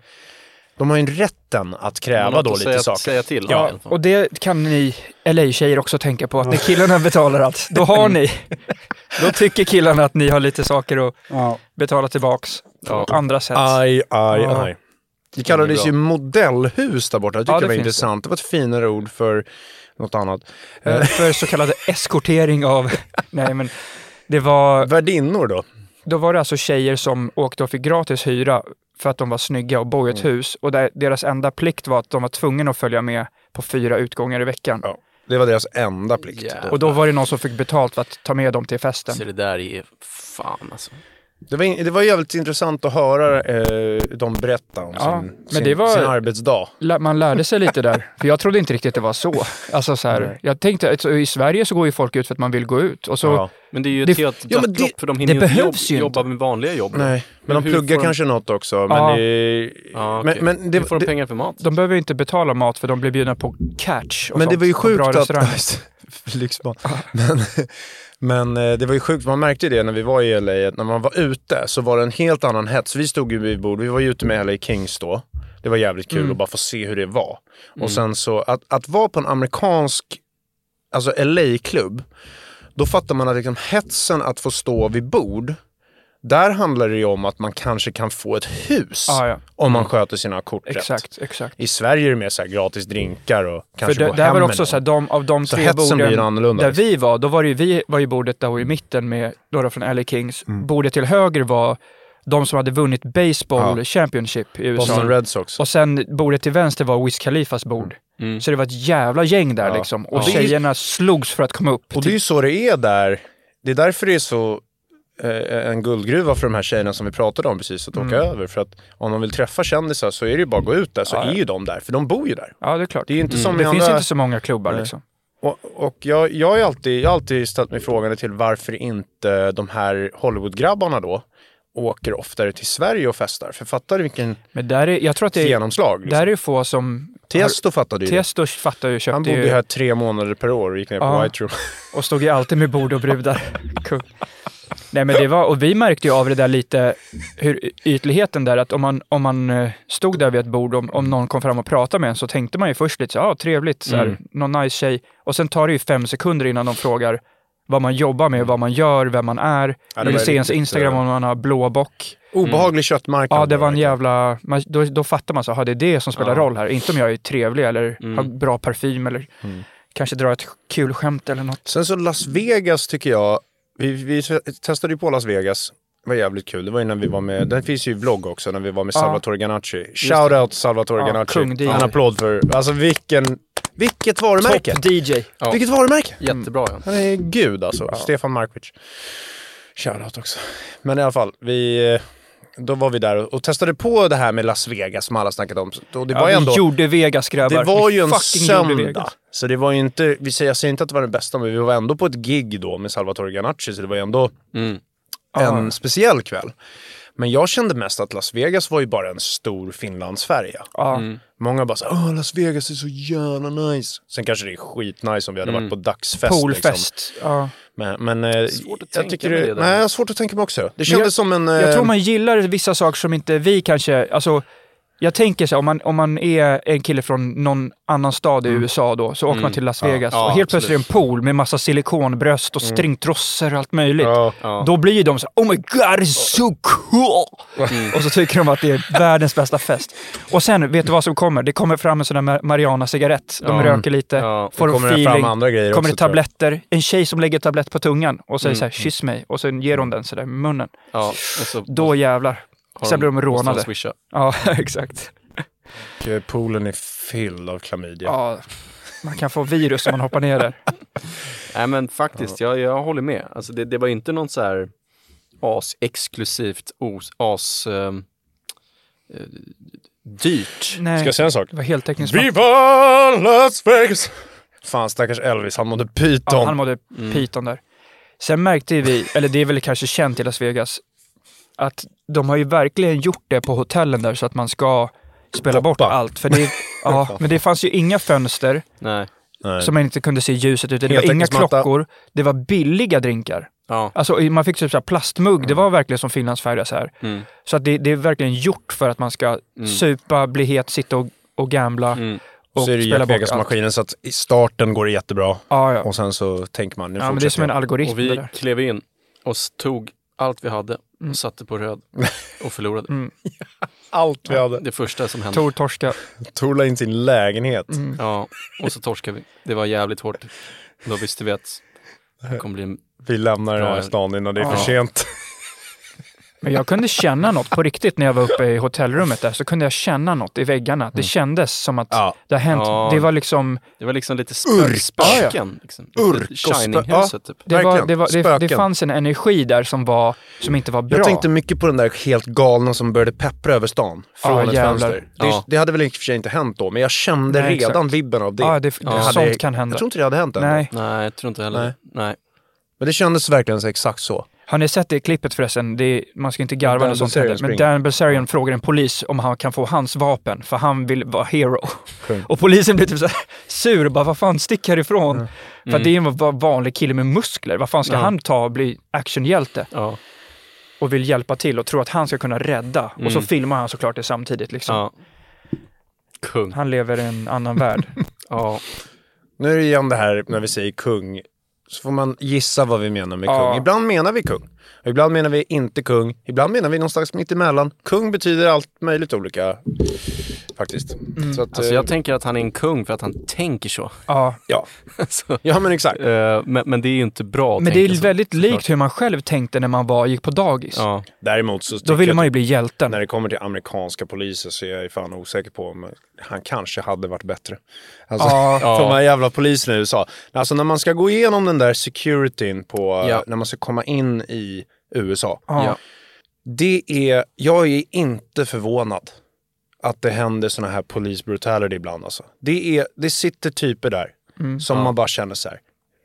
A: De har ju rätten att
C: Man
A: kräva
C: har
A: då
C: något att
A: lite
C: säga,
A: saker.
C: Säga till om i
B: Ja,
C: alla fall.
B: och det kan ni LA-tjejer också tänka på, att när killarna betalar allt, då har ni, då tycker killarna att ni har lite saker att
D: Ja.
B: betala tillbaks på andra sätt.
A: Aj, aj,
B: Ja.
A: aj. Det kallades ju modellhus där borta. Det tycker
B: Ja,
A: jag
B: det
A: var
B: finns
A: intressant. Det. var ett finare ord för något annat.
B: Eh, För så kallad eskortering av, nej men, det var,
A: Värdinnor då?
B: då var det alltså tjejer som åkte och fick gratis hyra för att de var snygga och bor i
A: Mm.
B: ett hus och där, deras enda plikt var att de var tvungna att följa med på fyra utgångar i veckan.
A: Ja. Det var deras enda plikt.
C: Ja.
A: Då.
B: Och då var det någon som fick betalt för att ta med dem till festen.
C: Så det där är fan alltså.
A: Det, var, in- det var jävligt intressant att höra eh, dem berätta om
B: Ja,
A: sin,
B: men
A: sin,
B: det var-
A: sin arbetsdag.
B: Lä- man lärde sig lite där. För jag trodde inte riktigt det var så. Alltså så här, jag tänkte att i Sverige så går ju folk ut för att man vill gå ut. Och så,
A: Ja.
C: Men det är ju ett
B: Det-
C: helt
A: Ja, men
C: dött lopp
A: det-
C: för de
B: det
C: hinner ju
B: behövs
C: inte
B: ju
C: jobb,
B: inte.
C: jobba med vanliga jobb.
A: Nej, men de
C: hur
A: pluggar
C: får de-
A: kanske något också. Men
B: Ja.
A: det,
C: Ja, okej.
A: men, men det,
C: Hur får de
A: det,
C: pengar för mat?
B: De behöver ju inte betala mat för de blir bjudna på catch. Och
A: men det
B: sånt
A: var ju
B: på bra
A: sjukt
B: restauranger.
A: att... Lyxbarn. Men, men eh, det var ju sjukt, man märkte ju det när vi var i LA, att när man var ute så var det en helt annan hets. Vi stod ju vid bord, vi var ju ute med LA Kings då. Det var jävligt kul
B: Mm.
A: att bara få se hur det var. Och sen så, att, att vara på en amerikansk, alltså LA-klubb, då fattar man att liksom hetsen att få stå vid bord, där handlar det ju om att man kanske kan få ett hus
B: Ah, Ja, ja.
A: om man sköter sina kort rätt.
B: Exakt, exakt.
A: I Sverige är det mer så här gratis drinkar och
B: För
A: kanske
B: det,
A: gå
B: där
A: hem
B: var det
A: med
B: också
A: någon.
B: så här, de, av de
A: Så
B: tre
A: hetsen
B: borden
A: blir annorlunda,
B: där
A: liksom.
B: vi var, då var det ju, vi var ju bordet där i mitten med några från LA Kings.
A: Mm.
B: Bordet till höger var de som hade vunnit Baseball
A: Ja.
B: Championship i USA.
A: Boston Red Sox.
B: Och sen bordet till vänster var Wiz Khalifas bord. Så det var ett jävla gäng där
A: Ja.
B: liksom. Och
A: Ja.
B: tjejerna slogs för att komma upp.
A: Och det är ju så det är där. Det är därför det är så eh, en guldgruva för de här tjejerna som vi pratade om precis, att
B: Mm.
A: åka över. För att om de vill träffa kändisar så är det ju bara att gå ut där, så är ju de där, för de bor ju där.
B: Ja, det är klart.
A: Det är ju inte som i
B: Mm. Det finns
A: andra...
B: inte så många klubbar liksom.
A: Och, och jag, jag, har ju alltid, jag har alltid ställt mig frågan till varför inte de här Hollywoodgrabbarna då åker oftare till Sverige och festar. För fattar du vilken
B: Men där är, jag tror att det är,
A: genomslag? Liksom.
B: där är ju få som...
A: Tiesto fattade ju det.
B: Tiesto fattar ju,
A: Han
B: köpte
A: bodde ju
B: ju
A: här tre månader per år och gick ner på
B: Ja.
A: White Room.
B: och stod ju alltid med bord och brudar. Kung. Nej men det var, och vi märkte ju av det där lite, hur ytligheten där, att om man, om man eh, stod där vid ett bord, om, om någon kom fram och pratade med en, så tänkte man ju först lite så ja ah, trevligt, så här, någon nice tjej. Och sen tar det ju fem sekunder innan de frågar vad man jobbar med, vad man gör, vem man är.
A: det var
B: vill se ens
A: riktigt,
B: Instagram
A: eh,
B: om man har blåbock.
A: Obehaglig köttmarknad.
B: Mm. Ja, det var en
A: verkligen.
B: jävla... Man, då, då fattar man så, aha, det är det som spelar roll här. Inte om jag är trevlig eller har bra parfym eller kanske drar ett kul skämt eller något.
A: Sen så Las Vegas tycker jag, vi, vi testade ju på Las Vegas. Det var jävligt kul. Det var ju när vi var med, den finns ju i vlogg också, när vi var med Salvatore Ganacci. Shout out Salvatore
B: Ja,
A: Ganacci.
B: kung DJ.
A: En applåd för, alltså vilken, vilket varumärke.
B: DJ.
C: Ja.
A: Vilket varumärke.
C: Jättebra ja.
A: Han är gud alltså. Stefan Markovic. Shoutout också. Men i alla fall, vi, då var vi där och, och testade på det här med Las Vegas som alla snackat om. Och det var ju
B: Ja,
A: ändå...
B: vi gjorde Vegas grabbar.
A: Det var
B: Vi
A: ju en
B: fucking gjorde
A: söndag.
B: Vegas.
A: Så det var ju inte, vi säger, jag säger inte att det var den bästa, men vi var ändå på ett gig då med Salvatore Ganacci, så det var ju ändå
C: Mm.
A: en speciell kväll. Men jag kände mest att Las Vegas var ju bara en stor Finlandsfärja.
B: Ja.
C: Mm.
A: Många bara såhär, Åh, Las Vegas är så jävla nice. Sen kanske det är skitnice om vi hade varit
C: Mm.
A: på dagsfest. Liksom.
B: Poolfest. Ja.
A: Men, men eh,
C: Svårt att
A: jag
C: tänka
A: tycker
C: mig
A: det,
C: det där.
A: nej, jag har svårt att tänka mig också. Det kändes
B: jag-
A: som en...
B: Jag
A: eh,
B: tror man gillar vissa saker som inte vi kanske... Alltså, jag tänker så här, om man, om man är en kille från någon annan stad i
A: Mm.
B: USA då, så åker man till Las Vegas
C: Ja,
B: och helt plötsligt är
C: absolut.
B: det en pool med massa silikonbröst och stringtrossor och allt möjligt.
A: Mm. ja,
B: Då blir ju de så oh my god, it's so cool!
A: Mm.
B: Och så tycker de att det är världens bästa fest. Och sen, vet du vad som kommer? Det kommer fram en sån där marijuana-cigarett. De röker lite,
C: Ja, det
B: får en
A: kommer det
B: feeling.
A: fram andra grejer
B: kommer
A: också, Mm.
B: det tabletter. En tjej som lägger tablett på tungan och säger så här, kyss mig. Och sen ger hon den så där i munnen.
C: ja och så
B: Då jävlar.
C: har
B: Sen blir de
C: måste
B: rånade.
C: swisha.
B: Ja, exakt.
A: och, eh, poolen är fylld av klamydia.
B: Ja, man kan få virus om man hoppar ner där.
C: Nej men faktiskt, jag, jag håller med. Alltså det, det var inte någon så här as-exklusivt, os- as... ehm, eh, dyrt.
B: Nej,
A: Ska jag säga en sak?
B: det var heltäckningsmatta.
A: Viva Las Vegas! Fan stackars Elvis, han mådde pyton.
B: Ja, han mådde pyton där. Sen märkte ju vi, eller det är väl kanske känt i Las Vegas, att de har ju verkligen gjort det på hotellen där så att man ska spela bort
A: Hoppa.
B: allt. För det, ja, men det fanns ju inga fönster
C: Nej.
A: Nej.
B: som man inte kunde se ljuset ute. Det var inga
A: Heltäckningsmatta.
B: klockor. Det var billiga drinkar.
C: Ja.
B: Alltså, i- man fick typ så här plastmugg, det var verkligen som finlandsfärja så här.
C: Mm.
B: Så att det, det är verkligen gjort för att man ska supa, bli het, sitta och, och gambla.
C: Mm.
B: Och
A: så är det
B: spela
A: Jack
B: bort allt.
A: Vegas-maskinen så att i starten går det jättebra
B: Ja, ja.
A: och sen så tänker man nu
B: ja men det är som
A: fortsätter
B: en
A: jag.
B: algoritm
C: Och
B: det
C: vi
B: där.
C: klev in och s- tog allt vi hade och satte på röd och förlorade.
A: Allt vi hade.
C: Det första som hände.
B: Tor torska.
A: Tor la in sin lägenhet.
B: Mm.
C: Ja, och så torskade vi. Det var jävligt hårt. Då visste vi att det kommer bli... en-
A: Vi lämnar den här
C: Ja.
A: stan innan det är
B: Ja.
A: för sent.
B: Men jag kunde känna något på riktigt när jag var uppe i hotellrummet där. Så kunde jag känna något i väggarna. Det kändes som att
A: Ja.
B: det har hänt.
C: Mm. Ja.
B: Det var liksom...
C: Det var liksom lite
A: Urk.
C: spö- spöken. Liksom.
A: Urk och spö-
C: Shining-huset typ.
B: Det, var,
A: Verkligen.
B: det, var, det, det
A: Spöken.
B: fanns en energi där som, var, som inte var bra.
A: Jag tänkte mycket på den där helt galna som började peppra över stan från
B: Ja,
A: ett
B: jävlar.
A: fönster. Det,
C: Ja.
A: det hade väl i och för sig inte hänt då, men jag kände
B: Nej,
A: redan
B: exakt.
A: vibben av det.
B: Ja, det,
C: Ja.
B: sånt
A: hade-
B: kan hända.
A: Jag tror inte det hade hänt än.
B: Nej.
C: Nej, jag tror inte heller
A: Nej.
C: Nej. Nej.
A: Men det kändes verkligen så exakt så.
B: Har ni sett det klippet förresten? Det är, man ska inte garva
A: Dan
B: eller sånt
A: Bilzerian
B: heller. Men
A: springer.
B: Dan Bilzerian frågar en polis om han kan få hans vapen, för han vill vara hero.
A: Kung.
B: Och polisen blir typ så här sur och bara, vad fan, stick härifrån. För att det är
C: Mm.
B: en va- vanlig kille med muskler. Vad fan ska
C: Ja.
B: han ta och bli actionhjälte?
C: Ja.
B: Och vill hjälpa till och tror att han ska kunna rädda. Och så filmar han såklart det samtidigt. Liksom.
C: Mm. ja. Kung.
B: Han lever i en annan värld.
C: Ja.
A: Nu är det igen det här när vi säger kung, så får man gissa vad vi menar med
B: Ja.
A: kung. Ibland menar vi kung, och ibland menar vi inte kung, ibland menar vi någonstans mitt emellan. Kung betyder allt möjligt olika, faktiskt. Så att,
C: Alltså
A: eh,
C: jag tänker att han är en kung för att han tänker så.
B: Ja.
A: ja.
C: Alltså,
A: ja, men exakt.
C: eh, men, men det är ju inte bra att
B: Men det
C: tänka
B: är
C: så.
B: väldigt likt hur man själv tänkte när man var, gick på dagis.
C: Ja. typ.
A: Däremot så tycker
B: Då ville
A: jag
B: man
A: att
B: ju bli hjälten.
A: när det kommer till amerikanska poliser så är jag ju fan osäker på om han kanske hade varit bättre. Alltså,
B: Ja.
A: för de här jävla poliserna i USA. Alltså när man ska gå igenom den där securityn på,
C: Ja.
A: när man ska komma in i USA.
B: Ja.
C: Ja.
A: Det är, jag är inte förvånad att det händer såna här police brutality ibland alltså. Det, är, det sitter typer där
B: Mm.
A: som man bara känner så här,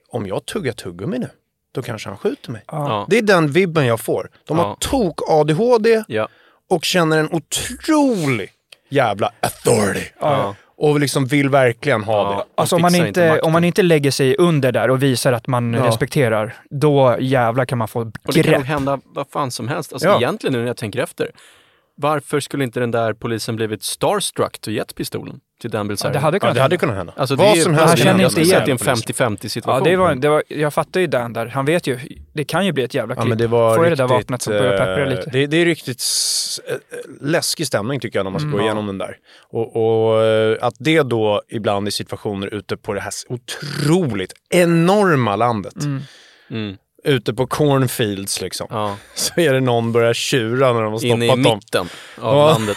A: om jag tuggar tuggummi nu, då kanske han skjuter mig.
C: Ja.
A: Det är den vibben jag får. De har
C: Ja.
A: tok-ADHD
C: Ja.
A: och känner en otrolig jävla authority. Och liksom vill verkligen ha det.
C: De
B: Alltså om man,
C: fixar
B: inte,
C: makten.
B: om man inte lägger sig under där och visar att man respekterar, då jävla kan man få
C: Och det kan nog
B: grepp.
C: hända vad fan som helst. Alltså
A: Ja.
C: egentligen nu när jag tänker efter. Varför skulle inte den där polisen blivit starstruck och gett pistolen till Dan Bilzerian?
B: Det hade
A: Ja,
B: kunnat
A: det
B: hända.
A: hade kunnat hända.
C: Alltså, det
A: Vad
C: är,
A: som
C: alltså,
A: helst.
B: känner
A: kan
C: jag
B: inte
A: hända
C: skulle
B: igen.
C: säga
A: med
C: att det är en
A: polisen.
C: 50-50 situation.
B: Ja, det var, det var, jag fattar ju Dan där. Han vet ju, det kan ju bli ett jävla klipp.
A: Ja, men det var
B: typ. Får jag
A: riktigt,
B: det där vapnet som börjar peppra
A: eh,
B: lite.
A: Det, det är riktigt s- eh, läskig stämning tycker jag när man
B: Mm.
A: ska gå igenom den där. Och, och eh, att det då ibland i situationer ute på det här s- otroligt enorma landet.
C: Mm.
A: Ute på cornfields liksom.
C: Ja.
A: Så är det någon börjar tjura när de har
C: Inne i
A: stoppat dem.
C: mitten av
A: Ja.
C: landet.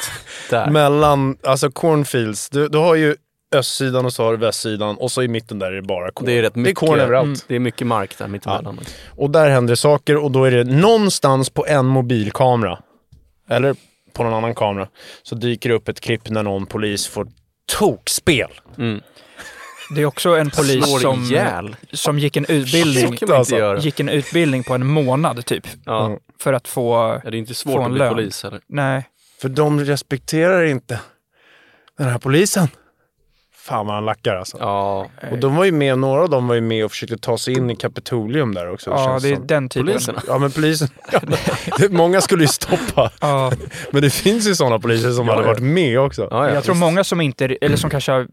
C: Där.
A: Mellan, alltså cornfields. Du, du har ju östsidan och så har du västsidan och så i mitten där är det bara korn.
C: det är rätt mycket. Mm.
A: Det är korn överallt.
C: Det är mycket mark där mittemellan.
A: Och där händer det saker och då är det någonstans på en mobilkamera, eller på någon annan kamera, så dyker det upp ett klipp när någon polis får tokspel.
B: Det är också en
C: Slår
B: polis som,
C: ihjäl.
B: som gick, en utbildning, Alltså,
C: Så kan man inte göra.
B: gick en utbildning på en månad typ.
C: Ja.
B: För att få...
C: Ja, det är inte
B: Få
C: svårt
B: en
C: att bli
B: lön.
C: polis heller.
B: Nej.
A: För de respekterar inte den här polisen. Fan vad han lackar alltså.
C: Ja,
A: Och de var ju med, några av dem var ju med och försökte ta sig in i Kapitolium där också.
B: Ja,
A: känns
B: det är
A: som.
B: den typen.
C: poliserna.
A: Ja men polisen, ja, det, många skulle ju stoppa.
B: Ja.
A: Men det finns ju sådana poliser som hade
C: ja.
A: varit med också.
C: Ja, ja,
B: Jag tror
C: visst.
B: många som inte, eller som kanske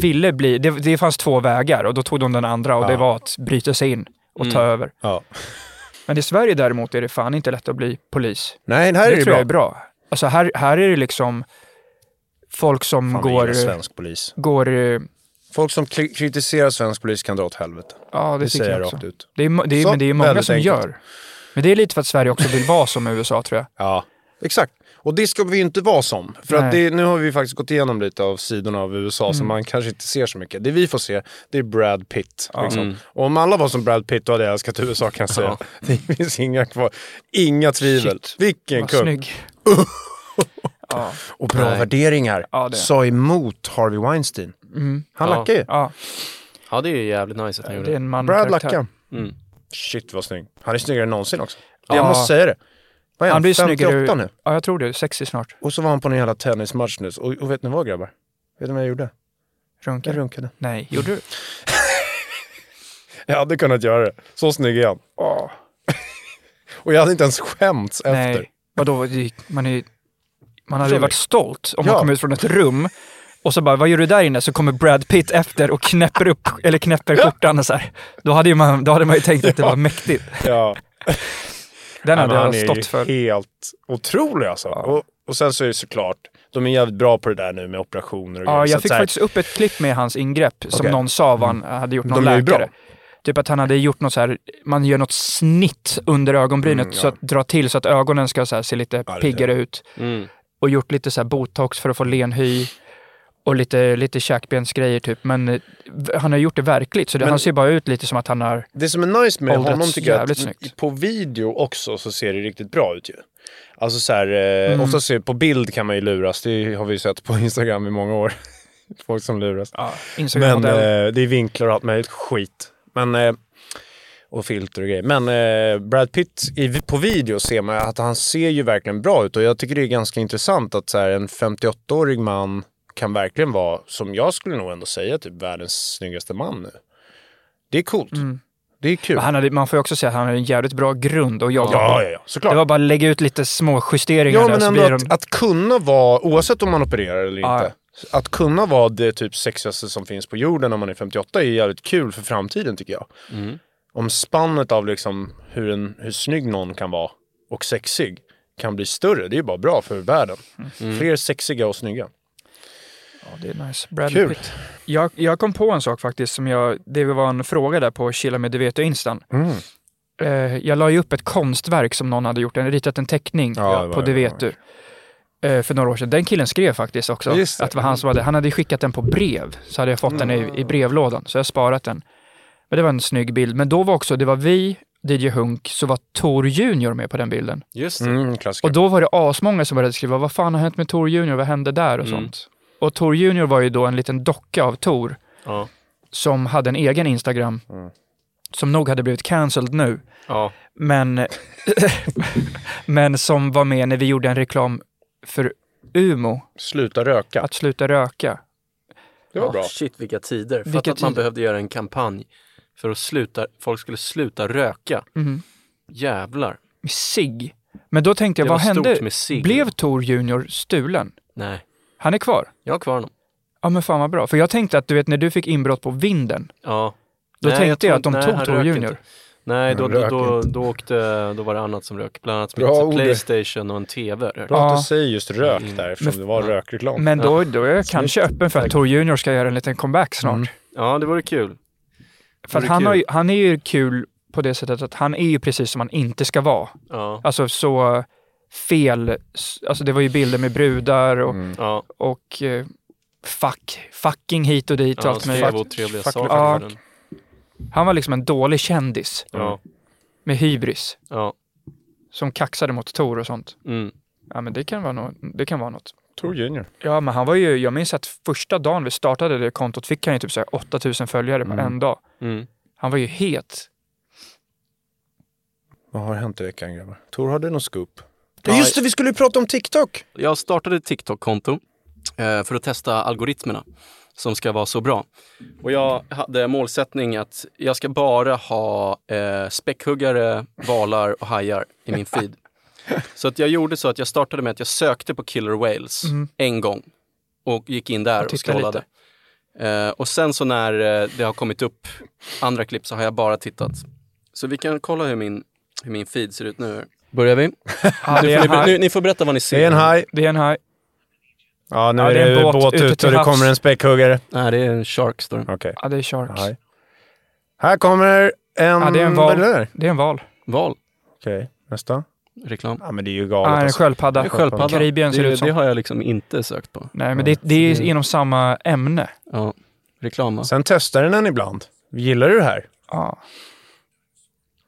B: ville bli, det, det fanns två vägar och då tog de den andra och det var att bryta sig in och
A: Mm.
B: ta över.
A: Ja.
B: Men i Sverige däremot är det fan inte lätt att bli polis.
A: Nej, här
B: Det,
A: är det
B: tror jag är
A: bra.
B: bra. Alltså här, här är det liksom folk
A: Fan,
B: som
A: jag
B: går,
A: gillar svensk polis.
B: går... eh,
A: Folk som kri- kritiserar svensk polis kan dra åt helvete.
B: Ja, det,
A: Det
B: tycker
A: säger
B: jag
A: jag
B: också.
A: rakt ut.
B: Det är, mo- det är,
A: Så,
B: men det är många
A: väldigt
B: som
A: enkelt.
B: gör. Men det är lite för att Sverige också vill vara som USA tror jag.
A: Ja, exakt. Och det ska vi ju inte vara som. För att
B: Nej. Mm.
A: det, nu har vi faktiskt gått igenom lite av sidorna av USA som man kanske inte ser så mycket. Det vi får se, det är Brad Pitt. Liksom.
B: Mm.
A: Och om alla var som Brad Pitt, då hade jag älskat USA kan jag säga. Det finns inga kvar. Inga tvivel.
B: Shit.
A: Vilken
B: Vad
A: kung.
B: snygg. ja,
A: Och bra värderingar.
B: Ja, det. Mm.
A: Sa emot Harvey Weinstein. Han
C: Ja.
A: lackar ju.
B: ja,
C: ja, det är jävligt nice att han gjorde
B: det är
C: det.
B: en man
A: Brad
B: karaktär.
A: lackar.
C: Mm.
A: Shit vad snygg. Han är snyggare än någonsin också.
B: Ja.
A: Jag måste säga det. Vad är
B: Han
A: han?
B: blir
A: 58
B: snyggare.
A: nu.
B: Ja, jag tror det. 60 snart.
A: Och så var han på en jävla tennismatch nu. Och, och vet ni vad grabbar? Vet ni vad jag gjorde?
B: Runkar
A: Jag runkade.
B: Nej, gjorde du?
A: Jag hade kunnat göra det. Så snygg är han. Och jag hade inte ens skämts efter.
B: Nej, vadå? det gick- Man, är, man hade
A: Förstår
B: ju
A: du?
B: varit stolt om
A: Ja.
B: man kom ut från ett rum och så bara, vad gör du där inne? Så kommer Brad Pitt efter och knäpper upp, eller knäpper skjortan och så här. Då hade, ju man, då hade man ju tänkt att det var mäktigt.
A: Ja.
B: Den hade
A: men han
B: jag
A: är ju
B: stått för.
A: helt otrolig alltså. Och, och sen så är det såklart, de är jävligt bra på det där nu med operationer och
B: Ja,
A: grejer, så
B: jag
A: att
B: fick
A: så här-
B: faktiskt upp ett klipp med hans ingrepp som
A: Okej. Mm.
B: någon sa vad han hade gjort, någon
A: De är ju
B: läkare.
A: bra.
B: Typ att han hade gjort något så här, man gör något snitt under ögonbrynet, så att dra till så att ögonen ska så här, se lite
A: Mm, det är
B: piggare ut. Och gjort lite så här botox för att få len hy och lite, lite käkbensgrejer typ. Men eh, v- han har gjort det verkligt, så det, han ser bara ut lite som att han har...
A: Det som är nice med
B: Åldrats
A: honom tycker jag att
B: jävligt snyggt.
A: på video också så ser det riktigt bra ut ju. Alltså så här,
B: Mm.
A: eh, ofta ser på bild kan man ju luras, det har vi ju sett på Instagram i många år. Folk som luras.
B: Ja,
A: Men
B: Instagram-modell.
A: eh, det är vinklar och allt möjligt skit. Men, eh, och filter och grejer. Men eh, Brad Pitt, i, på video ser man att han ser ju verkligen bra ut och jag tycker det är ganska intressant att så här, en 58-årig man kan verkligen vara, som jag skulle nog ändå säga, typ världens snyggaste man nu. Det är coolt. Det är kul.
B: Mm. Men han hade, man får ju också säga att han har en jävligt bra grund att jobba
A: Ja,
B: på.
A: ja, ja. Såklart.
B: Det var bara att lägga ut lite små justeringar
A: ja,
B: där,
A: men
B: så
A: ändå
B: blir
A: att,
B: de...
A: att kunna vara, oavsett om man opererar eller
B: Ja.
A: inte, att kunna vara det typ sexigaste som finns på jorden när man är 58 är jävligt kul för framtiden tycker jag. Om spannet av liksom hur, en, hur snygg någon kan vara och sexig kan bli större, det är ju bara bra för världen. Fler sexiga och snygga.
B: Ja, det är nice. Brad
A: Kul.
B: Pitt. Jag, jag kom på en sak faktiskt, som jag, det var en fråga där på Chilla med du vet och instan.
A: Mm.
B: Eh, jag la ju upp ett konstverk som någon hade gjort, en, ritat en teckning
A: Ja, det var
B: på
A: det.
B: du vet du. Eh, för några år sedan. Den killen skrev faktiskt också
A: Just det. Mm.
B: att det var han som hade, han hade skickat den på brev. Så hade jag fått den i, i brevlådan, så jag har sparat den. Men det var en snygg bild. Men då var också, det var vi, DJ Hunk, så var Tor Junior med på den bilden.
C: Just det.
A: Mm, klassiker.
B: Och då var det asmånga som började skriva, vad fan har hänt med Tor Junior, vad hände där
C: Mm.
B: och sånt. Och Tor Junior var ju då en liten docka av Tor
C: Ja.
B: som hade en egen Instagram som nog hade blivit cancelled nu,
C: Ja.
B: men, men som var med när vi gjorde en reklam för Umo,
A: Sluta röka.
B: att sluta röka.
A: Det var bra.
C: Shit vilka tider. Fatta
B: Vilka
C: att man
B: tider.
C: behövde göra en kampanj för att sluta, folk skulle sluta röka.
B: Mhm.
C: Jävlar.
B: Med Sig. Men då tänkte jag,
C: Det
B: vad
C: var stort
B: hände?
C: med sig.
B: Blev Tor Junior stulen?
C: Nej,
B: Han är kvar.
C: jag har kvar honom.
B: Ja men fan vad bra. För jag tänkte att du vet när du fick inbrott på vinden,
C: Ja.
B: då
C: Nej,
B: tänkte
C: tror
B: jag att de
C: inte-
B: tog
C: han
B: Tor
C: rök
B: Junior.
C: inte. Nej, då,
A: Han
C: då,
A: rök
C: då,
A: inte.
C: då, åkte, då var det annat som rök. Bland annat
A: Bra,
C: Bra,
A: Olle.
C: Playstation och en TV. rök.
A: Bra att
B: Ja.
A: du säger just rök där eftersom det var rökreklam.
B: Men då, då är jag kanske öppen för att Tor Junior ska göra en liten comeback snart.
C: Ja, det vore kul.
B: För att
C: vore
B: han,
C: Mm. kul.
B: har ju, han är ju kul på det sättet att han är ju precis som han inte ska vara.
C: Ja,
B: Alltså så fel, alltså det var ju bilder med brudar och,
C: ja.
B: och eh, fuck, fucking hit och dit och
C: ja
B: allt
C: skrev
B: möjligt.
C: otrevliga
A: fuck-
B: ja.
C: saker.
B: Han var liksom en dålig kändis
C: Ja,
B: med hybris
C: ja.
B: som kaxade mot Tor och sånt.
C: Mm.
B: Ja men det kan vara, nå det kan vara något.
A: Tor Junior.
B: Ja men han var ju, jag minns att första dagen vi startade det kontot fick han ju typ så här 8000 följare på en dag.
C: Mm.
B: Han var ju het.
A: Vad har hänt i veckan grabbar? Tor, har du någon scoop? Ja, just det, vi skulle ju prata om TikTok!
C: Jag startade ett TikTok-konto eh, för att testa algoritmerna som ska vara så bra. Och jag hade målsättning att jag ska bara ha eh, späckhuggare, valar och hajar i min feed. Så att jag gjorde så att jag startade med att jag sökte på killer whales
A: Mm.
C: en gång och gick in där och,
B: tittade
C: scrollade. Eh, och sen så när eh, det har kommit upp andra klipp så har jag bara tittat. Så vi kan kolla hur min, hur min feed ser ut nu. Börjar vi?
B: Ja, det,
C: Ni
B: är en
C: får,
B: haj.
C: ni, ni får berätta vad ni ser.
A: Det är en haj.
B: det är en haj.
A: Ja, nu
B: Ja,
A: är det, en båt,
B: ute
A: ute
B: till
A: och det
B: havs.
A: kommer en späckhuggare.
C: Nej, det är en shark står det.
A: Okej.
B: Ja, det är sharks.
A: Haj. Här kommer en...
B: Ja, det är en
A: vad
B: val.
A: det där?
B: Det är en val.
C: Val,
A: Okej, nästa.
C: reklam.
A: Ja, men det är ju
B: Ja,
A: galet.
B: en
A: alltså.
B: sköldpadda.
C: En sköldpadda.
B: Karibien ser det
C: det,
B: ut som.
C: det har jag liksom inte sökt på.
B: Nej, men det, det är inom samma ämne.
C: Ja, reklam va?
A: Sen testar den en ibland. Gillar du det här?
B: Ja,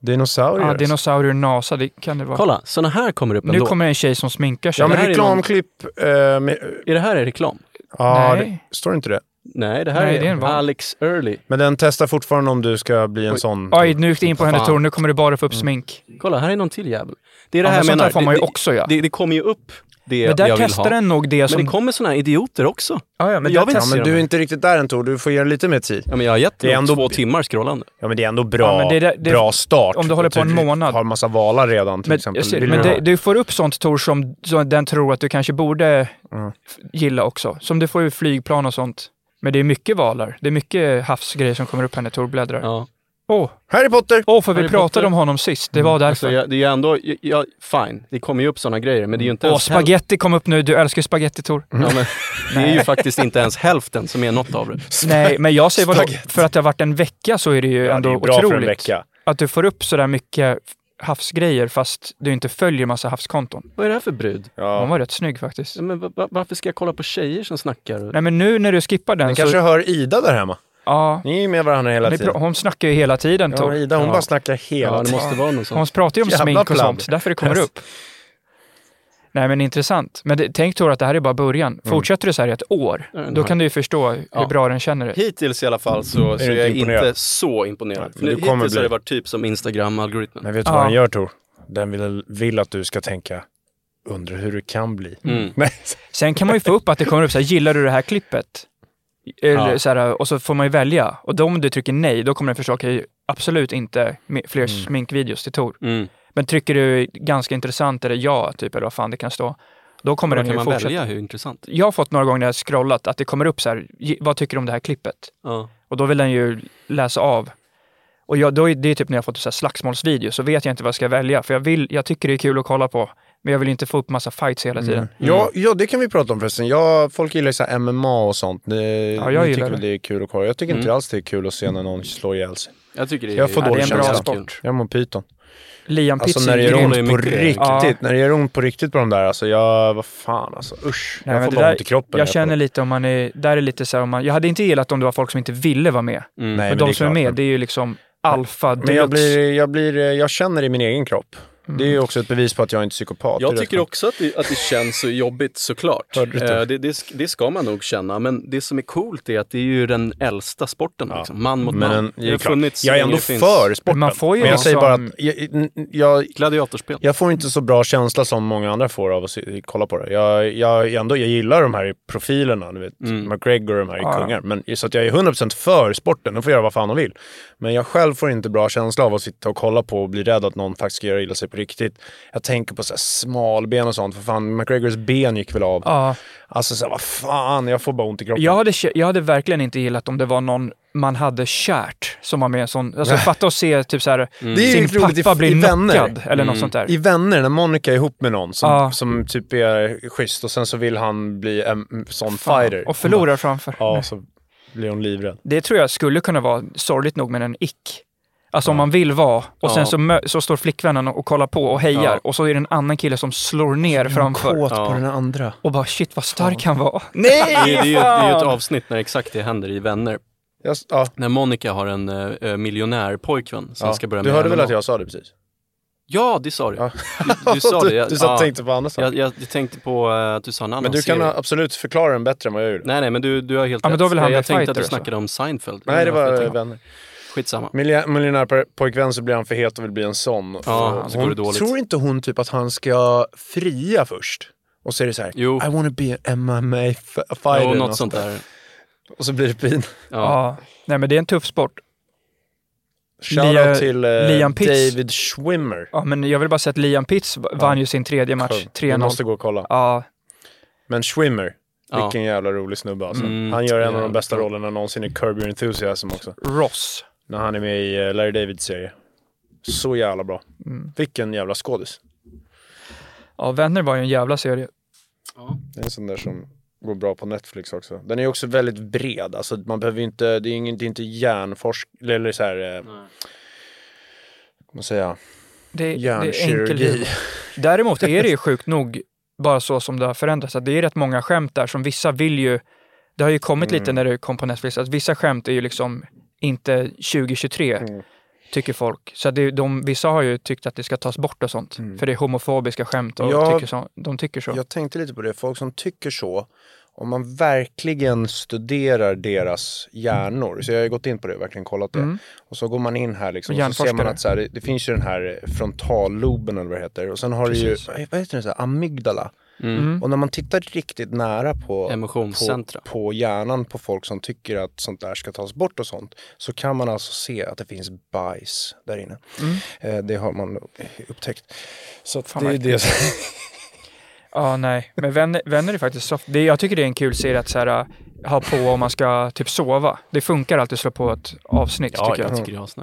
A: Dinosaurier.
B: ja dinosaurier NASA, det kan det vara.
C: Kolla, såna här kommer upp
B: nu
C: ändå.
B: kommer en tjej som sminkar sig.
A: Ja, men
C: Det här är
A: reklamklipp... eh, med,
C: Är det här en reklam?
A: ja, det,
B: Nej.
A: står inte det?
C: Nej, det här
B: Nej,
C: är,
B: det är en val.
C: Alex Early.
A: Men den testar fortfarande om du ska bli en sån.
B: Oj, nu gick det in på henne
C: Fan.
B: Tor. Nu kommer du bara få upp smink.
C: Kolla, här är någon till jävel. Det är det
B: Ja,
C: här
B: men
C: jag
B: sånt där
C: menar.
B: får man ju
C: det,
B: också göra.
C: det, det kommer ju upp det
B: Men där
C: jag vill
B: testar
C: ha.
B: den nog det
C: Men
B: som...
C: det kommer såna här idioter också.
B: ja, ja, men
C: jag
B: där
C: vill-
B: testar
A: Ja, men du är inte riktigt där än Tor. Du får ge det lite mer tid.
C: Ja, men jag har gett
A: Det är
C: dem
A: ändå-
C: två timmar scrollande.
A: Ja, men det är ändå bra,
B: Ja, men det är där- det-
A: bra start.
B: om du håller på en
A: Du typ
B: månad.
A: har en massa valar redan till
B: Men,
A: exempel.
B: jag ser,
A: Vill
B: men
A: du ha?
B: det, du får upp sånt Tor som, som den tror att du kanske borde
A: Mm.
B: f- gilla också. Som du får ju flygplan och sånt. Men det är mycket valar. Det är mycket havsgrejer som kommer upp här när Tor bläddrar. Åh,
C: Ja.
B: åh
A: Harry Potter! Mm.
B: för vi
C: Harry
B: pratade
C: Potter.
B: om honom sist. Det var
C: Alltså,
B: därför. Åh,
C: jag, det är ju ändå, jag, jag, fine, det kommer ju upp såna grejer, men det är ju inte
A: alltså,
C: ens häl-
B: spaghetti kom upp nu. Du älskar ju spaghetti Tor.
A: Mm.
C: Ja, men, det är ju faktiskt inte ens hälften som är något av det.
B: Nej, men jag säger vadå?
A: Spaghetti.
B: För att det har varit en vecka så är det ju
A: Ja, det
B: ändå
A: är bra för en
B: otroligt.
A: vecka.
B: Att du får upp sådär mycket havsgrejer fast du inte följer massa havskonton.
C: Vad är det här för brud?
B: Hon
A: Ja. Mm.
B: var rätt snygg faktiskt.
C: Ja, men, va- va- varför ska jag kolla på tjejer som snackar?
B: Nej, men nu när du skippar den
A: Ni
B: så...
A: kanske hör Ida där hemma.
B: Ja,
A: Ni är ju med varandra hela
B: ni
A: tiden.
B: pra- hon snackar ju hela tiden Tor.
A: Ja, Ida hon
C: Ja.
A: bara snackar
C: ja,
A: hela
C: det
A: tiden.
C: måste vara någon sån.
B: Hon pratar ju om
A: Jävla
B: smink och
A: pladd.
B: sånt, därför det kommer upp. Nej men intressant. Men det, tänk Tor att det här är bara
C: Mm.
B: början. Fortsätter det så här i ett år,
C: Ja, den
B: då
C: har-
B: kan du ju förstå hur
C: Ja.
B: bra den känner det.
C: Hittills i alla fall så, så
A: Mm. du
C: är jag
A: inte imponerad?
C: inte så imponerad.
A: men
C: För nu,
A: du kommer
C: hittills har
A: bli.
C: det varit typ som Instagram-algoritmen.
A: Men vet du
B: Ja.
A: vad den gör Tor? Den vill, vill att du ska tänka, undrar hur det kan bli.
B: Mm.
A: Nej,
B: Sen kan man ju få upp att det kommer upp så här, gillar du det här klippet? Eller,
A: Ja.
B: så här, och så får man ju välja. Och då om du trycker nej, då kommer den förstå, okej, absolut inte me- fler sminkvideos till Tor.
C: Mm.
B: Men trycker du ganska intressant eller ja, typ, eller vad fan det kan stå, då kommer
C: Då
B: den
C: kan
B: ju
C: man
B: fortsätta.
C: välja hur intressant.
B: Jag har fått några gånger när jag har scrollat att det kommer upp så här, "Gi- vad tycker du om det här klippet?
C: Ja.
B: Och då vill den ju läsa av. Och jag, då är det är typ när jag har fått så här slagsmålsvideo så vet jag inte vad jag ska välja. För jag, vill, jag tycker det är kul att kolla på, men jag vill inte få upp massa fights hela tiden.
A: Ja, ja, det kan vi prata om förresten. Jag, folk gillar ju så här MMA och sånt. Ni,
B: Ja, jag
A: ni
B: gillar
A: tycker
B: det. Mm.
A: väl det är kul att kolla. Jag tycker inte alls det är kul att se när någon slår ihjäl sig.
C: Jag tycker det är,
A: Jag får
C: ja,
A: dålig
C: det är en bra
A: känsla.
C: sport.
A: Jag mår pyton.
B: Liam
A: Alltså
B: Pitsing,
A: när det
C: det
A: gör
C: är
B: grym.
C: ju
A: ont på
C: mycket-
A: riktigt.
B: Ja.
A: När det gör ont på riktigt på de där, alltså jag, vad fan alltså. Usch.
B: Nej,
A: jag
B: men
A: får
B: det
A: bara
B: där,
A: ont i kroppen. när
B: jag känner
A: kollar.
B: lite om man är, där är lite så här, om man, jag hade inte gillat om det var folk som inte ville vara med.
C: Mm.
A: Nej,
B: men,
A: det
B: de som är
A: klart.
B: med, det är ju liksom alfa
A: Men jag,
B: deluxe.
A: blir, jag, blir, eh, jag känner i min egen kropp. Det är
B: Mm.
A: ju också ett bevis på att jag inte är psykopat. Det
C: Jag
A: är
C: tycker
A: rätt
C: också att det, att det känns så jobbigt såklart.
A: Hörde du det?
C: Eh, det, det, sk- det ska man nog känna, men det som är coolt är att det är ju den äldsta sporten. Liksom. Man mot
A: Men
C: man.
A: en,
C: det har funnits
A: jag är
C: så länge
A: ändå
C: det finns.
A: för sporten.
B: Man får ju
A: men jag säger bara
B: liksom-
A: att jag, jag,
C: Gladiatorspel.
A: jag får inte så bra känsla som många andra får av att se, kolla på det. Jag, jag, är ändå, jag gillar de här profilerna, du vet, McGregor och de här
B: Mm. Ja.
A: kungar. Men, så att jag är 100% för sporten, de får göra vad fan de vill. Men jag själv får inte bra känsla av att sitta och kolla på och bli rädd att någon faktiskt ska göra illa sig på riktigt. Jag tänker på så här smalben och sånt, för fan McGregors ben gick väl av.
B: Ja,
A: Alltså så här, vad fan, jag får bara ont i kroppen.
B: jag, hade, kä- jag hade verkligen inte gillat om det var någon man hade kärt som var med i en sån. Alltså fatta och se typ så här,
A: Mm. Det är ju
B: sin
A: roligt i-
B: pappa
A: i
B: blir
A: Vänner. Mm.
B: knockad eller något sånt där.
A: I Vänner, när Monica är ihop med någon som,
B: Ja.
A: som typ är schysst och sen så vill han bli en sån fighter.
B: Och förlorar framför.
A: Ja, så blir hon livrädd.
B: Det tror jag skulle kunna vara sorgligt nog men en ick. Alltså om man vill vara och sen
C: Ja.
B: så, mö- så står flickvännen och kollar på och hejar
C: Ja.
B: och så är det en annan kille som slår ner framför
C: Ja.
A: den andra.
B: och bara shit vad stark han var.
C: Det, är- det, är ju, det är ju ett avsnitt när exakt det händer i Vänner.
A: Jag, ja.
C: När Monica har en uh, miljonärpojkvän som
A: Ja.
C: ska börja
A: du
C: med
A: hörde väl
C: MMA.
A: att jag sa det precis?
C: Ja, det sa du.
A: Ja.
C: Du, du sa det.
A: du,
C: Jag,
A: du satt
C: ja,
A: och tänkte på andra saker.
C: jag, jag, jag tänkte på eh, att du sa en annan
A: Men du kan
C: serie.
A: absolut förklara den bättre än vad jag gjorde.
C: Nej, nej, men du, du har helt
B: Ja, men
C: rätt.
B: då vill han
C: jag
B: bli
C: jag tänkte att
B: fighter,
C: du
B: så.
C: snackade om Seinfeld.
A: Nej, det
C: därför jag
A: var
C: tänkte-
A: vänner.
C: Skitsamma.
A: Miljö- Miljonärpojkvän så blir han för het och vill bli en sån.
C: Ja,
A: Och
C: så går det dåligt.
A: Tror inte hon typ att han ska fria först? Och så är det så här,
C: Jo.
A: I wanna be an MMA f- fighter.
C: Jo,
A: eller
C: något sånt där.
A: Och så blir det pin.
C: Ja.
B: Ja. Nej men det är en tuff sport. Lia-
A: Shoutout till eh,
B: Liam Pitts.
A: David Schwimmer.
B: Ja, men jag vill bara säga att Liam Pitts v- vann ju sin tredje match,
A: Kung. Vi
B: 3-0.
A: måste gå och kolla.
B: Ja,
A: Men Schwimmer,
C: Ja.
A: vilken jävla rolig snubbe alltså.
C: Mm.
A: Han gör en av de
C: Ja.
A: bästa rollerna någonsin i Curb Your Enthusiasm också.
B: Ross.
A: När han är med i eh, Larry Davids serie. Så jävla bra. Vilken jävla skådis.
B: Ja, Vänner var ju en jävla serie.
A: Det är en sån där som går bra på Netflix också. Den är också väldigt bred. Alltså man behöver ju inte, det är, ingen, det är inte hjärnforsk... eller så här... Eh, vad ska man säga?
B: Det, det är enkel
A: Hjärnkirurgi.
B: humor. Däremot är det ju sjukt nog, bara så som det har förändrats, att det är rätt många skämt där som vissa vill ju... Det har ju kommit lite
A: Mm.
B: när det kom på Netflix, att vissa skämt är ju liksom inte 2023,
A: Mm.
B: tycker folk. Så att det, de, vissa har ju tyckt att det ska tas bort och sånt, för det är homofobiska skämt och
A: Mm. Ja.
B: tycker så, de tycker så.
A: Jag tänkte lite på det, folk som tycker så, om man verkligen studerar deras hjärnor, så jag har ju gått in på det och verkligen kollat det. Och så går man in här liksom, och så ser man
B: Mm. Hjärnforskare.
A: att så här, det, det finns ju den här frontalloben eller vad det heter. Och sen har du ju, vad heter den, så här, amygdala.
B: Mm.
A: Och när man tittar riktigt nära på,
C: Emotionscentra.
A: på, på hjärnan på folk som tycker att sånt där ska tas bort och sånt, så kan man alltså se att det finns bajs där inne.
B: Mm.
A: Eh, det har man upptäckt. Så att det är det som...
B: Ja, nej. Men vänner, vänner är faktiskt soft. Det, jag tycker det är en kul serie att så här, äh, ha på om man ska typ sova. Det funkar alltid att slå på ett avsnitt
C: Ja,
B: tycker jag.
C: jag tycker det är asnice.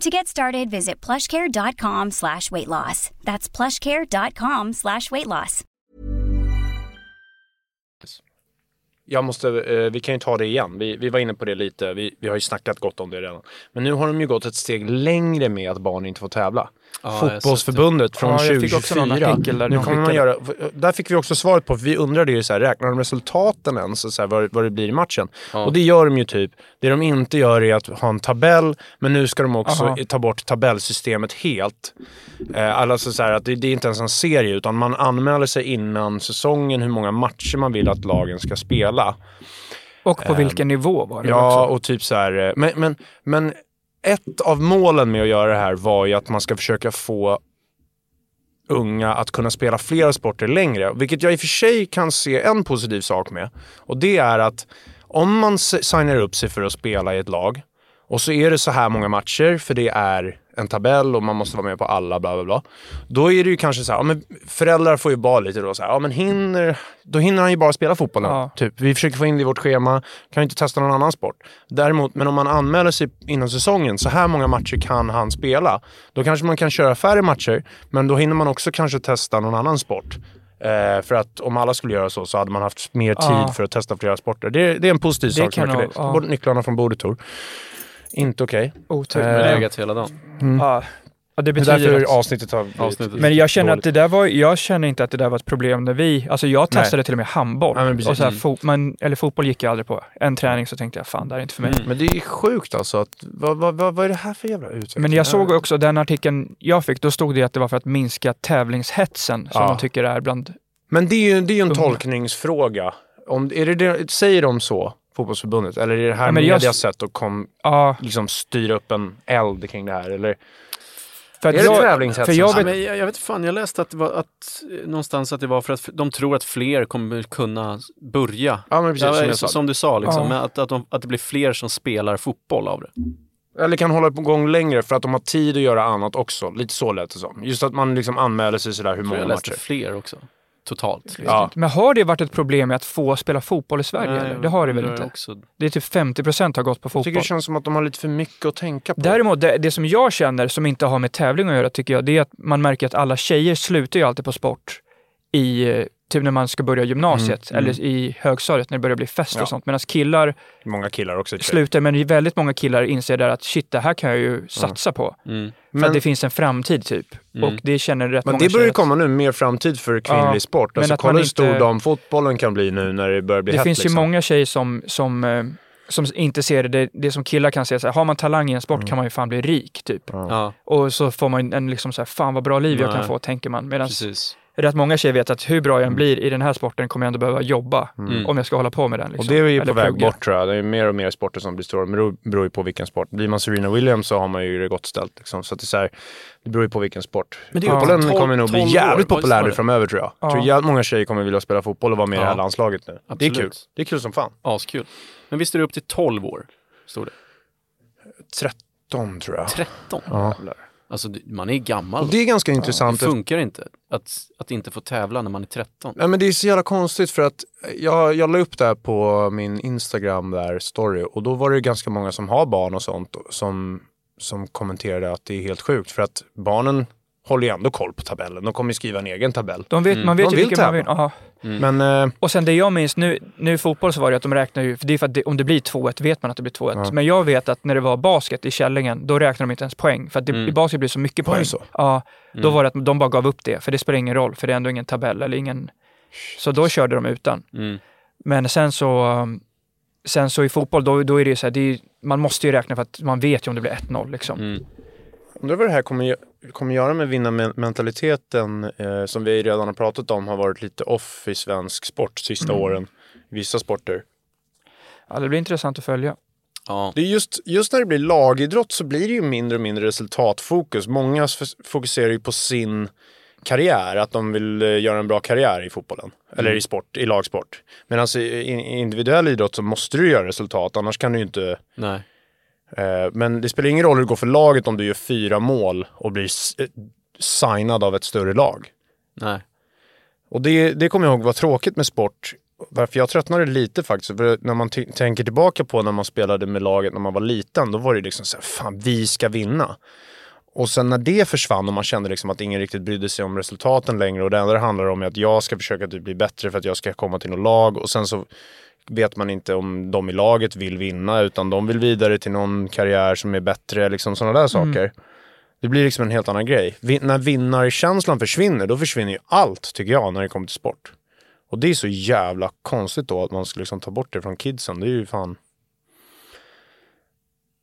D: To get started, visit plushcare.com slash weight loss. That's plushcare.com slash weight loss.
A: Jag måste, eh, vi kan ju ta det igen. Vi, vi var inne på det lite. Vi, vi har ju snackat gott om det redan. Men nu har de ju gått ett steg längre med att barn inte får tävla.
C: Ja, jag har sett
A: Fotbollsförbundet från
B: Ja, jag fick också någon
A: 2024.
B: artikel där
A: nu
B: de
A: kommer man göra, där fick vi också svaret på, vi undrade ju så här, räknar de resultaten ens? och Så här, vad, vad det blir i matchen? Och det gör de ju typ. Det de inte gör är att ha en tabell, men nu ska de också
B: Aha.
A: ta bort tabellsystemet helt. Eh, Alltså så här att det, det är inte ens en serie utan man anmäler sig innan säsongen hur många matcher man vill att lagen ska spela.
B: Och på vilken nivå var det
A: Ehm, Ja,
B: också?
A: och typ så här. eh, Men, men, men ett av målen med att göra det här var ju att man ska försöka få unga att kunna spela flera sporter längre. Vilket jag i och för sig kan se en positiv sak med. Och det är att om man s- signar upp sig för att spela i ett lag och så är det så här många matcher för det är en tabell och man måste vara med på alla bla bla bla. Då är det ju kanske så här, ja, men föräldrar får ju bara lite då så här, ja men hinner, då hinner han ju bara spela fotbollen.
B: Ja.
A: Typ. Vi försöker få in det i vårt schema, kan ju inte testa någon annan sport. Däremot, men om man anmäler sig innan säsongen, så här många matcher kan han spela. Då kanske man kan köra färre matcher, men då hinner man också kanske testa någon annan sport. Eh, för att om alla skulle göra så, så hade man haft mer tid
B: Ja.
A: för att testa flera sporter. Det, det är en positiv sak.
B: kan
A: verkar
B: nog-
A: det.
B: ja.
A: Ta bort nycklarna från bordet, Tor. Inte okej.
B: Otur.
C: Med
B: Men,
C: ögat hela dagen.
B: ja. ja, det
A: Det är
B: betyder
A: därför
B: att-
A: avsnittet har blivit
C: Avsnittet.
B: Mm. Men jag känner att
A: dåligt.
B: det där var, jag känner inte att det där var ett problem när vi, alltså jag testade till och med handboll.
A: Ja, men precis.
B: och så här,
A: Mm.
B: fo, men, eller fotboll gick jag aldrig på. En träning så tänkte jag, fan det här är inte för
C: Mm.
B: mig.
A: Men det är sjukt alltså. Att, vad, vad, vad, vad är det här för jävla utveckling?
B: Men jag såg också den artikeln jag fick, då stod det att det var för att minska tävlingshetsen som
A: Ja.
B: de tycker är bland...
A: Men det är ju, det är ju en
B: Unga.
A: tolkningsfråga. Om, är det det, säger de så, fotbollsförbundet? Eller är det här
B: Ja, men jag-
A: medias sätt att kom,
B: Ja,
A: liksom, styra upp en eld kring det här? Eller?
B: för att
A: Är det
B: jag,
A: tävlingshetsen
B: för
A: som-
B: jag
C: Ja,
B: vet,
C: men jag, jag vet fan, jag läste att, det var, att eh, någonstans att det var för att f- de tror att fler kommer kunna börja.
A: Ja, men precis
C: Ja,
A: som jag
C: så-
A: sa.
C: som du sa, liksom,
B: Ja.
C: men att, att, de, att det blir fler som spelar fotboll av det.
A: Eller kan hålla på gång längre för att de har tid att göra annat också. Lite så lät det som. Just att man liksom anmäler sig sådär hur
C: Jag tror
A: många
C: jag
A: matcher.
C: läste fler också, totalt. liksom.
A: Ja.
B: men har det varit ett problem med att få spela fotboll i Sverige?
C: Nej,
B: eller? Det har det väl
C: jag
B: inte?
C: Också.
B: Det är typ 50 procent har gått på
A: Jag tycker
B: fotboll.
A: det känns som att de har lite för mycket att tänka på.
B: Däremot, det, det som jag känner som inte har med tävling att göra tycker jag, det är att man märker att alla tjejer slutar ju alltid på sport i, eh, typ när man ska börja gymnasiet eller i högstadiet när det börjar bli fest
A: Mm, Ja.
B: och sånt. Medan killar
A: Många killar också. i och för sig.
B: slutar, men väldigt många killar inser där att shit, det här kan jag ju satsa på.
C: Mm.
B: För
A: Men- Mm.
B: att det finns en framtid typ. Och det känner rätt
A: Men
B: många
A: det börjar
B: tjejer
A: ju
B: att-
A: komma nu, mer framtid för kvinnlig
B: Ja,
A: sport.
B: men
A: Alltså,
B: att man
A: kolla hur stor
B: inte-
A: damfotbollen kan bli nu när det börjar bli
B: Det
A: hett.
B: finns
A: liksom.
B: ju många tjejer som, som, eh, som inte ser det, det, det som killar kan se, så här, har man talang i en
A: Mm.
B: sport kan man ju fan bli rik typ.
C: Ja,
B: Och så får man en liksom så här, fan vad bra liv jag kan
C: Nej.
B: få, tänker man. Medan
C: precis.
B: rätt många tjejer vet att hur
A: Mm.
B: bra jag än blir i den här sporten kommer jag ändå behöva jobba om jag ska hålla på med den. Liksom.
A: Och det är ju
B: Eller
A: på väg
B: plugga.
A: bort tror jag. Det är mer och mer sporter som blir stora. Men det beror ju på vilken sport. Blir man Serena Williams så har man ju det gott ställt. Liksom. Så, att det, är så här, det beror ju på vilken sport.
C: Men det är ju
A: Fotbollen
C: tolv-
A: kommer nog bli
C: tolv år,
A: jävligt
C: vad sa
A: populär nu
C: du?
A: framöver tror jag. Jag tror jävligt många tjejer kommer vilja spela fotboll och vara med i det här
C: Ja.
A: landslaget nu.
C: Absolut.
A: Det är kul. Det är kul som fan.
C: Askul. Men visst är det upp till 12 år? Stod det.
A: 13 tror jag.
C: 13?
A: Ja.
C: Alltså det- man är gammal.
A: Och det är ganska
C: det
A: intressant.
C: funkar inte att, att inte få tävla när man är 13.
A: Nej, men det är så jävla konstigt för att jag, jag la upp det här på min Instagram där, story, och då var det ju ganska många som har barn och sånt som, som kommenterade att det är helt sjukt för att barnen håller ju ändå koll på tabellen. De kommer ju skriva en egen tabell.
B: De vet,
A: Mm.
B: Man vet
A: De
B: ju
A: vill
B: vilken man vill.
A: tävla.
B: Aha.
A: Men eh,
B: Och sen det jag minns, nu, nu i fotboll så var det att de räknar ju, för det är för att det, om det blir 2-1 vet man att det blir 2-1. Men jag vet att när det var basket i Källingen, då räknar de inte ens poäng. För att det, i basket blir så mycket
A: Var det
B: poäng.
A: så?
B: Ja, då var det att de bara gav upp det, för det spelar ingen roll, för det är ändå ingen tabell eller ingen... Så då körde de utan. Men sen så, um, sen så i fotboll, då, då är det ju så här, det är, ju- man måste ju räkna för att man vet ju om det blir 1-0 liksom.
A: undrar vad det här kommer, gö- kommer göra med vinnarmentaliteten eh, som vi redan har pratat om har varit lite off i svensk sport sista åren. Vissa sporter.
B: Ja, det blir intressant att följa.
C: Ja.
A: Det är just, just när det blir lagidrott så blir det ju mindre och mindre resultatfokus. Många f- fokuserar ju på sin karriär, att de vill eh, göra en bra karriär i fotbollen. Eller i sport, i lagsport. Medan i, i i individuell idrott så måste du göra resultat, annars kan du ju inte...
C: Nej.
A: Eh, men det spelar ingen roll hur det går för laget om du gör fyra mål och blir s- eh, signad av ett större lag.
C: Nej.
A: Och det, det kommer jag ihåg var tråkigt med sport. Varför jag tröttnade lite faktiskt. För när man ty- tänker tillbaka på när man spelade med laget när man var liten. Då var det liksom så här, fan vi ska vinna. Och sen när det försvann och man kände liksom att ingen riktigt brydde sig om resultaten längre. Och det enda det handlar om är att jag ska försöka typ bli bättre för att jag ska komma till något lag. Och sen så vet man inte om de i laget vill vinna utan de vill vidare till någon karriär som är bättre. Liksom sådana där
B: Mm.
A: saker. Det blir liksom en helt annan grej. Vin- när vinnarkänslan försvinner, då försvinner ju allt tycker jag när det kommer till sport. Och det är så jävla konstigt då att man ska liksom ta bort det från kidsen. Det är ju fan...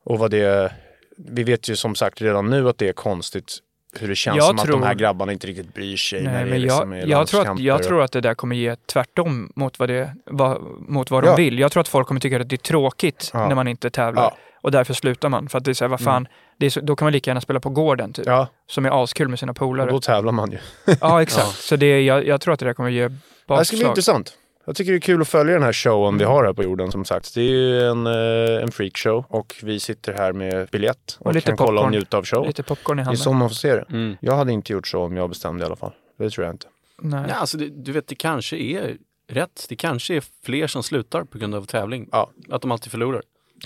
A: Och vad det... Vi vet ju som sagt redan nu att det är konstigt hur det känns
B: Jag
A: som att
B: tror-
A: de här grabbarna inte riktigt bryr sig när
B: Nej,
A: det
B: men
A: liksom
B: jag,
A: är
B: jag, tror att,
A: landskamper
B: jag
A: och-
B: tror att det där kommer ge tvärtom mot vad, det, vad, mot vad de
A: Ja.
B: vill. Jag tror att folk kommer tycka att det är tråkigt
A: Ja.
B: när man inte tävlar
A: Ja. Mm.
B: och därför slutar man. För att det är så här, vad fan, det är så, då kan man lika gärna spela på gården typ,
A: Ja,
B: som är askul med sina
A: och
B: polare.
A: då tävlar man ju.
B: Ja, exakt. Så det, jag, jag tror att det där kommer
A: Det
B: ge
A: här ska bli
B: bakslag. Mm.
A: intressant. Jag tycker det är kul att följa den här showen vi har här på jorden som sagt. Det är ju en, eh, en freakshow och vi sitter här med biljett och,
B: Och lite
A: kan kolla och
B: popcorn.
A: njuta av showen.
B: Lite popcorn i
A: Det är
B: handen.
A: så man får se det.
C: Mm.
A: Jag hade inte gjort så om jag bestämde i alla fall. Det tror jag inte.
B: Nej.
C: Nej, alltså det, du vet, det kanske är rätt. Det kanske är fler som slutar på grund av tävling.
A: Ja.
C: Att de alltid förlorar.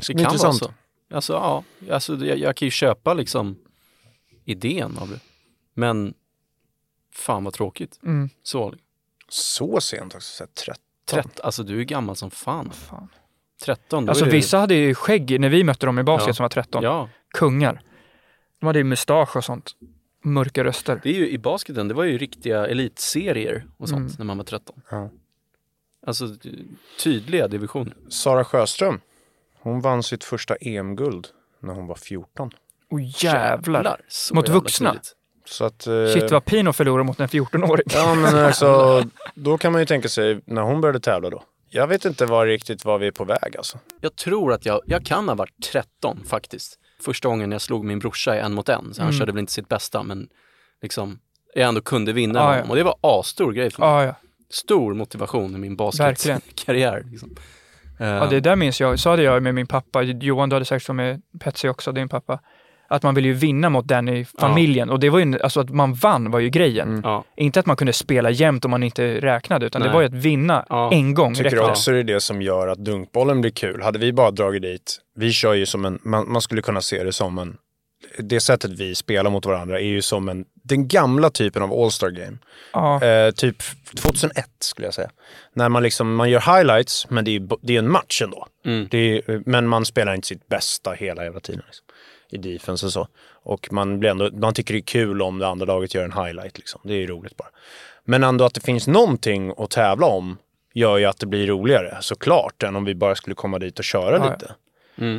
C: Det,
A: bli intressant.
C: så. Alltså, ja, alltså, jag, jag kan ju köpa liksom idén av det. Men fan vad tråkigt.
B: Mm.
C: Så,
A: Så sent också, så här 13.
C: trett, alltså du är gammal som fan.
B: Fan.
C: 13, då
B: Alltså
C: är det,
B: vissa hade ju skägg när vi mötte dem i basket
C: Ja.
B: som var 13.
C: Ja,
B: Kungar. De hade ju mustasch och sånt. Mörka röster.
C: det är ju i basketen, det var ju riktiga elitserier och sånt
B: Mm.
C: när man var 13.
A: Ja.
C: Alltså tydliga divisioner.
A: Sara Sjöström, hon vann sitt första EM-guld när hon var 14.
B: Åh jävlar.
C: så
B: Mot
C: jävla
B: vuxna?
C: tidigt.
A: Så att... eh,
B: Shit vad pin att förlora mot en 14-åring.
A: Ja men alltså, då kan man ju tänka sig när hon började tävla då. Jag vet inte var riktigt var vi är på väg alltså.
C: Jag tror att jag, jag kan ha varit 13 faktiskt. Första gången jag slog min brorsa i en mot en.
B: Mm.
C: Så han körde väl inte sitt bästa men liksom jag ändå kunde vinna
B: Ja,
C: med
B: ja.
C: honom. Och det var asstor grej för mig.
B: Ah, Ja, ja.
C: Stor motivation i min
B: Verkligen.
C: basketkarriär. Liksom. Eh,
B: ja, det där minns jag. Så hade jag med min pappa, Johan du hade säkert så med Petsi också, din pappa, att man ville ju vinna mot den i familjen. Och det var ju, alltså att man vann var ju grejen.
C: Mm. Ja.
B: Inte att man kunde spela jämnt om man inte räknade, utan det
C: Nej.
B: var ju att vinna
C: Ja.
B: en gång.
A: Tycker
B: räckte.
A: också det är det som gör att dunkbollen blir kul. Hade vi bara dragit dit, vi kör ju som en, man, man skulle kunna se det som en, det sättet vi spelar mot varandra är ju som en, den gamla typen av All-Star Game.
B: Ja.
A: Eh, typ 2001 skulle jag säga. När man liksom, man gör highlights, men det är, bo- det är en match ändå. Det är, men man spelar inte sitt bästa hela jävla tiden. Liksom, I defense och så. Och man, blir ändå, man tycker det är kul om det andra laget gör en highlight. Liksom. Det är ju roligt bara. Men ändå att det finns någonting att tävla om gör ju att det blir roligare, såklart, än om vi bara skulle komma dit och köra
B: Ja, ja.
A: lite.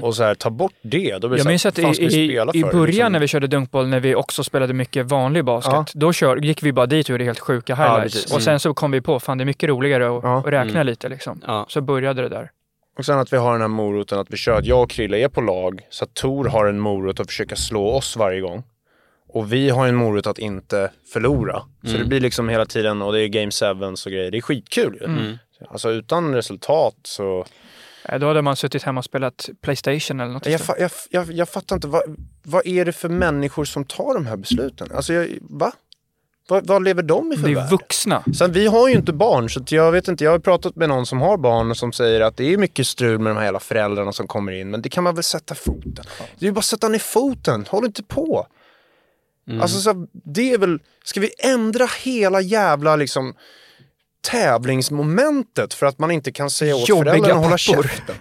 A: Och så här, ta bort det. Då blir
B: Jag
A: det
B: minns
A: så här,
B: att i,
A: "Fan, ska vi
B: i,
A: spela
B: i
A: för?"
B: början
A: Liksom.
B: när vi körde dunkboll, när vi också spelade mycket vanlig basket,
A: Ja.
B: då kör, gick vi bara dit och gjorde helt sjuka highlights.
A: precis. Mm.
B: och sen så kom vi på, fan det är mycket roligare att
A: Ja.
B: att räkna lite liksom.
C: Mm. Ja.
B: Så började det där.
A: Och sen att vi har den här moroten att vi kör att jag och Krille är på lag så att Tor har en morot att försöka slå oss varje gång. Och vi har en morot att inte förlora. Så det blir liksom hela Mm. tiden och det är game sevens och grejer. Det är skitkul ju. Alltså utan resultat så
B: Eh, Då hade man suttit hemma och spelat Playstation eller något.
A: Jag,
B: istället.
A: fa- jag, f- jag, jag fattar inte, vad, vad är det för människor som tar de här besluten? Alltså, jag, va? Vad, vad lever de i för
B: det är
A: värld?
B: vuxna.
A: Sen vi har ju inte barn, så att jag vet inte, jag har pratat med någon som har barn som säger att det är mycket strul med de här jävla föräldrarna som kommer in, men det kan man väl sätta foten. Det är ju bara att sätta ner foten, håll inte på.
B: Mm.
A: Alltså så, här, det är väl, ska vi ändra hela jävla liksom tävlingsmomentet för att man inte kan säga åt
B: Jobbiga
A: föräldrarna att hålla
B: pappor.
A: käften?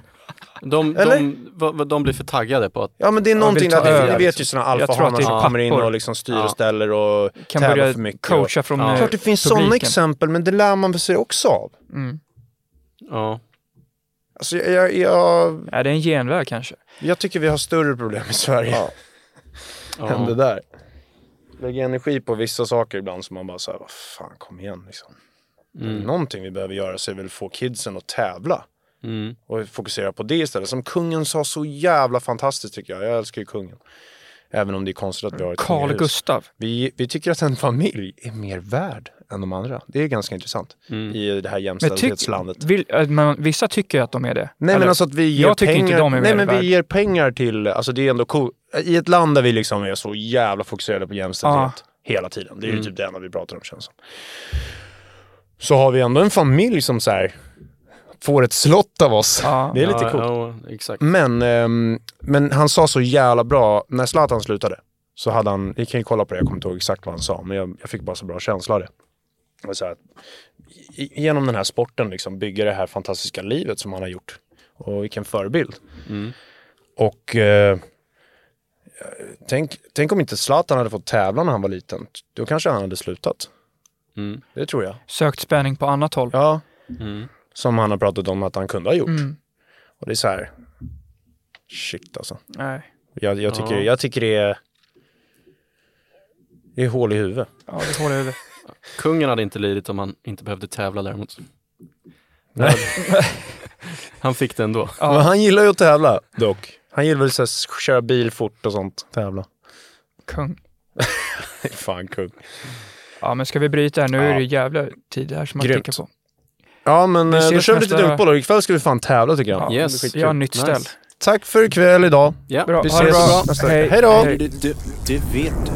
C: De,
A: Eller?
C: de, vad- vad- de blir för taggade på att
A: Ja men det är någonting
B: ta
A: där, det- ni
B: över,
A: vet ju
C: liksom.
A: sådana
B: Jag tror att
A: alfahanar
B: det är
A: som kommer in
B: pappor.
A: och liksom styr
C: Ja.
A: och ställer och
B: Kan
A: tävlar
B: börja
A: för mycket.
B: coacha från
C: Ja.
B: eh,
A: Klart det finns sådana
B: publiken.
A: exempel, men det lär man sig också av.
C: ja,
A: Alltså jag, jag, jag,
B: Ja, det är en genväg kanske.
A: jag tycker vi har större problem i Sverige än det
C: ja,
A: där. Lägga energi på vissa saker ibland som man bara säger, vad fan kom igen liksom.
B: Mm.
A: Någonting vi behöver göra så är väl få kidsen att tävla.
C: mm,
A: och fokusera på det istället. Som kungen sa så jävla fantastiskt tycker jag. Jag älskar ju kungen. Även om det är konstigt att vi har ett
B: Carl
A: kungahus.
B: Gustav.
A: Vi, vi tycker att en familj är mer värd än de andra. Det är ganska intressant i det här
B: Mm. Men tyck,
A: jämställdhetslandet.
B: vill, eh, men vissa tycker ju att de är det.
A: Nej
B: Eller,
A: men alltså att vi ger
B: jag tycker
A: pengar,
B: inte de är
A: nej,
B: mer
A: men
B: värd.
A: vi ger pengar till, alltså det är ändå cool. I ett land där vi liksom är så jävla fokuserade på jämställdhet
B: Ja. Mm.
A: hela tiden. Det är ju typ det enda vi pratar om känns som. Så har vi ändå en familj som så här får ett slott av oss.
B: Ja.
A: Det är lite
C: ja,
A: coolt.
C: Ja,
B: Mm.
C: exakt.
A: Men, ehm, men han sa så jävla bra, när Zlatan slutade så hade han, ni kan ju kolla på det, jag kommer inte ihåg exakt vad han sa, men jag, jag fick bara så bra känsla av det. Det var Så här, i- genom den här sporten liksom bygga det här fantastiska livet som han har gjort. Och vilken förebild.
C: Mm.
A: Och eh, tänk, tänk om inte Zlatan hade fått tävla när han var liten. Då kanske han hade slutat.
C: Mm.
A: Det tror jag.
B: Sökt spänning på annat håll.
A: Ja,
C: Mm.
A: som han har pratat om att han kunde ha gjort.
B: Mm.
A: Och det är så här, shit alltså.
B: Nej.
A: Jag, jag, tycker,
C: Ja.
A: jag tycker det är... Det är hål i huvudet.
B: Ja, det håller jag över.
C: Kungen hade inte lidit om han inte behövde tävla däremot.
A: Nej.
C: Han fick det ändå.
A: Men han gillar ju att tävla, dock. Han gillar väl så här, köra bil fort och sånt. Tävla.
B: Kung.
A: Det är Fan kung.
B: Ja, men ska vi bryta här? Nu är det jävla tid här som man
A: Grymt.
B: klickar på.
A: Ja, men
B: Vi
A: eh, då
B: ses
A: kör vi lite
B: nästa-
A: dunkboll och ikväll ska vi fan tävla tycker jag.
B: Ja,
C: Yes.
A: Det blir skitkul.
B: Vi har nytt
C: Nice.
B: ställ.
A: Tack för ikväll idag.
C: Ja,
B: Bra,
A: Vi
B: ha det
A: ses
B: bra.
A: nästa vecka.
B: Hej.
A: Hej då!
B: Hej.
E: Det, det, det vet du.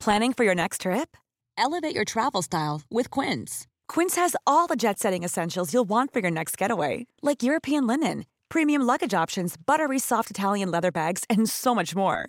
F: Planning for your next trip? Elevate your travel style with Quince. Quince has all the jet setting essentials you'll want for your next getaway, like European linen, premium luggage options, buttery soft Italian leather bags, and so much more.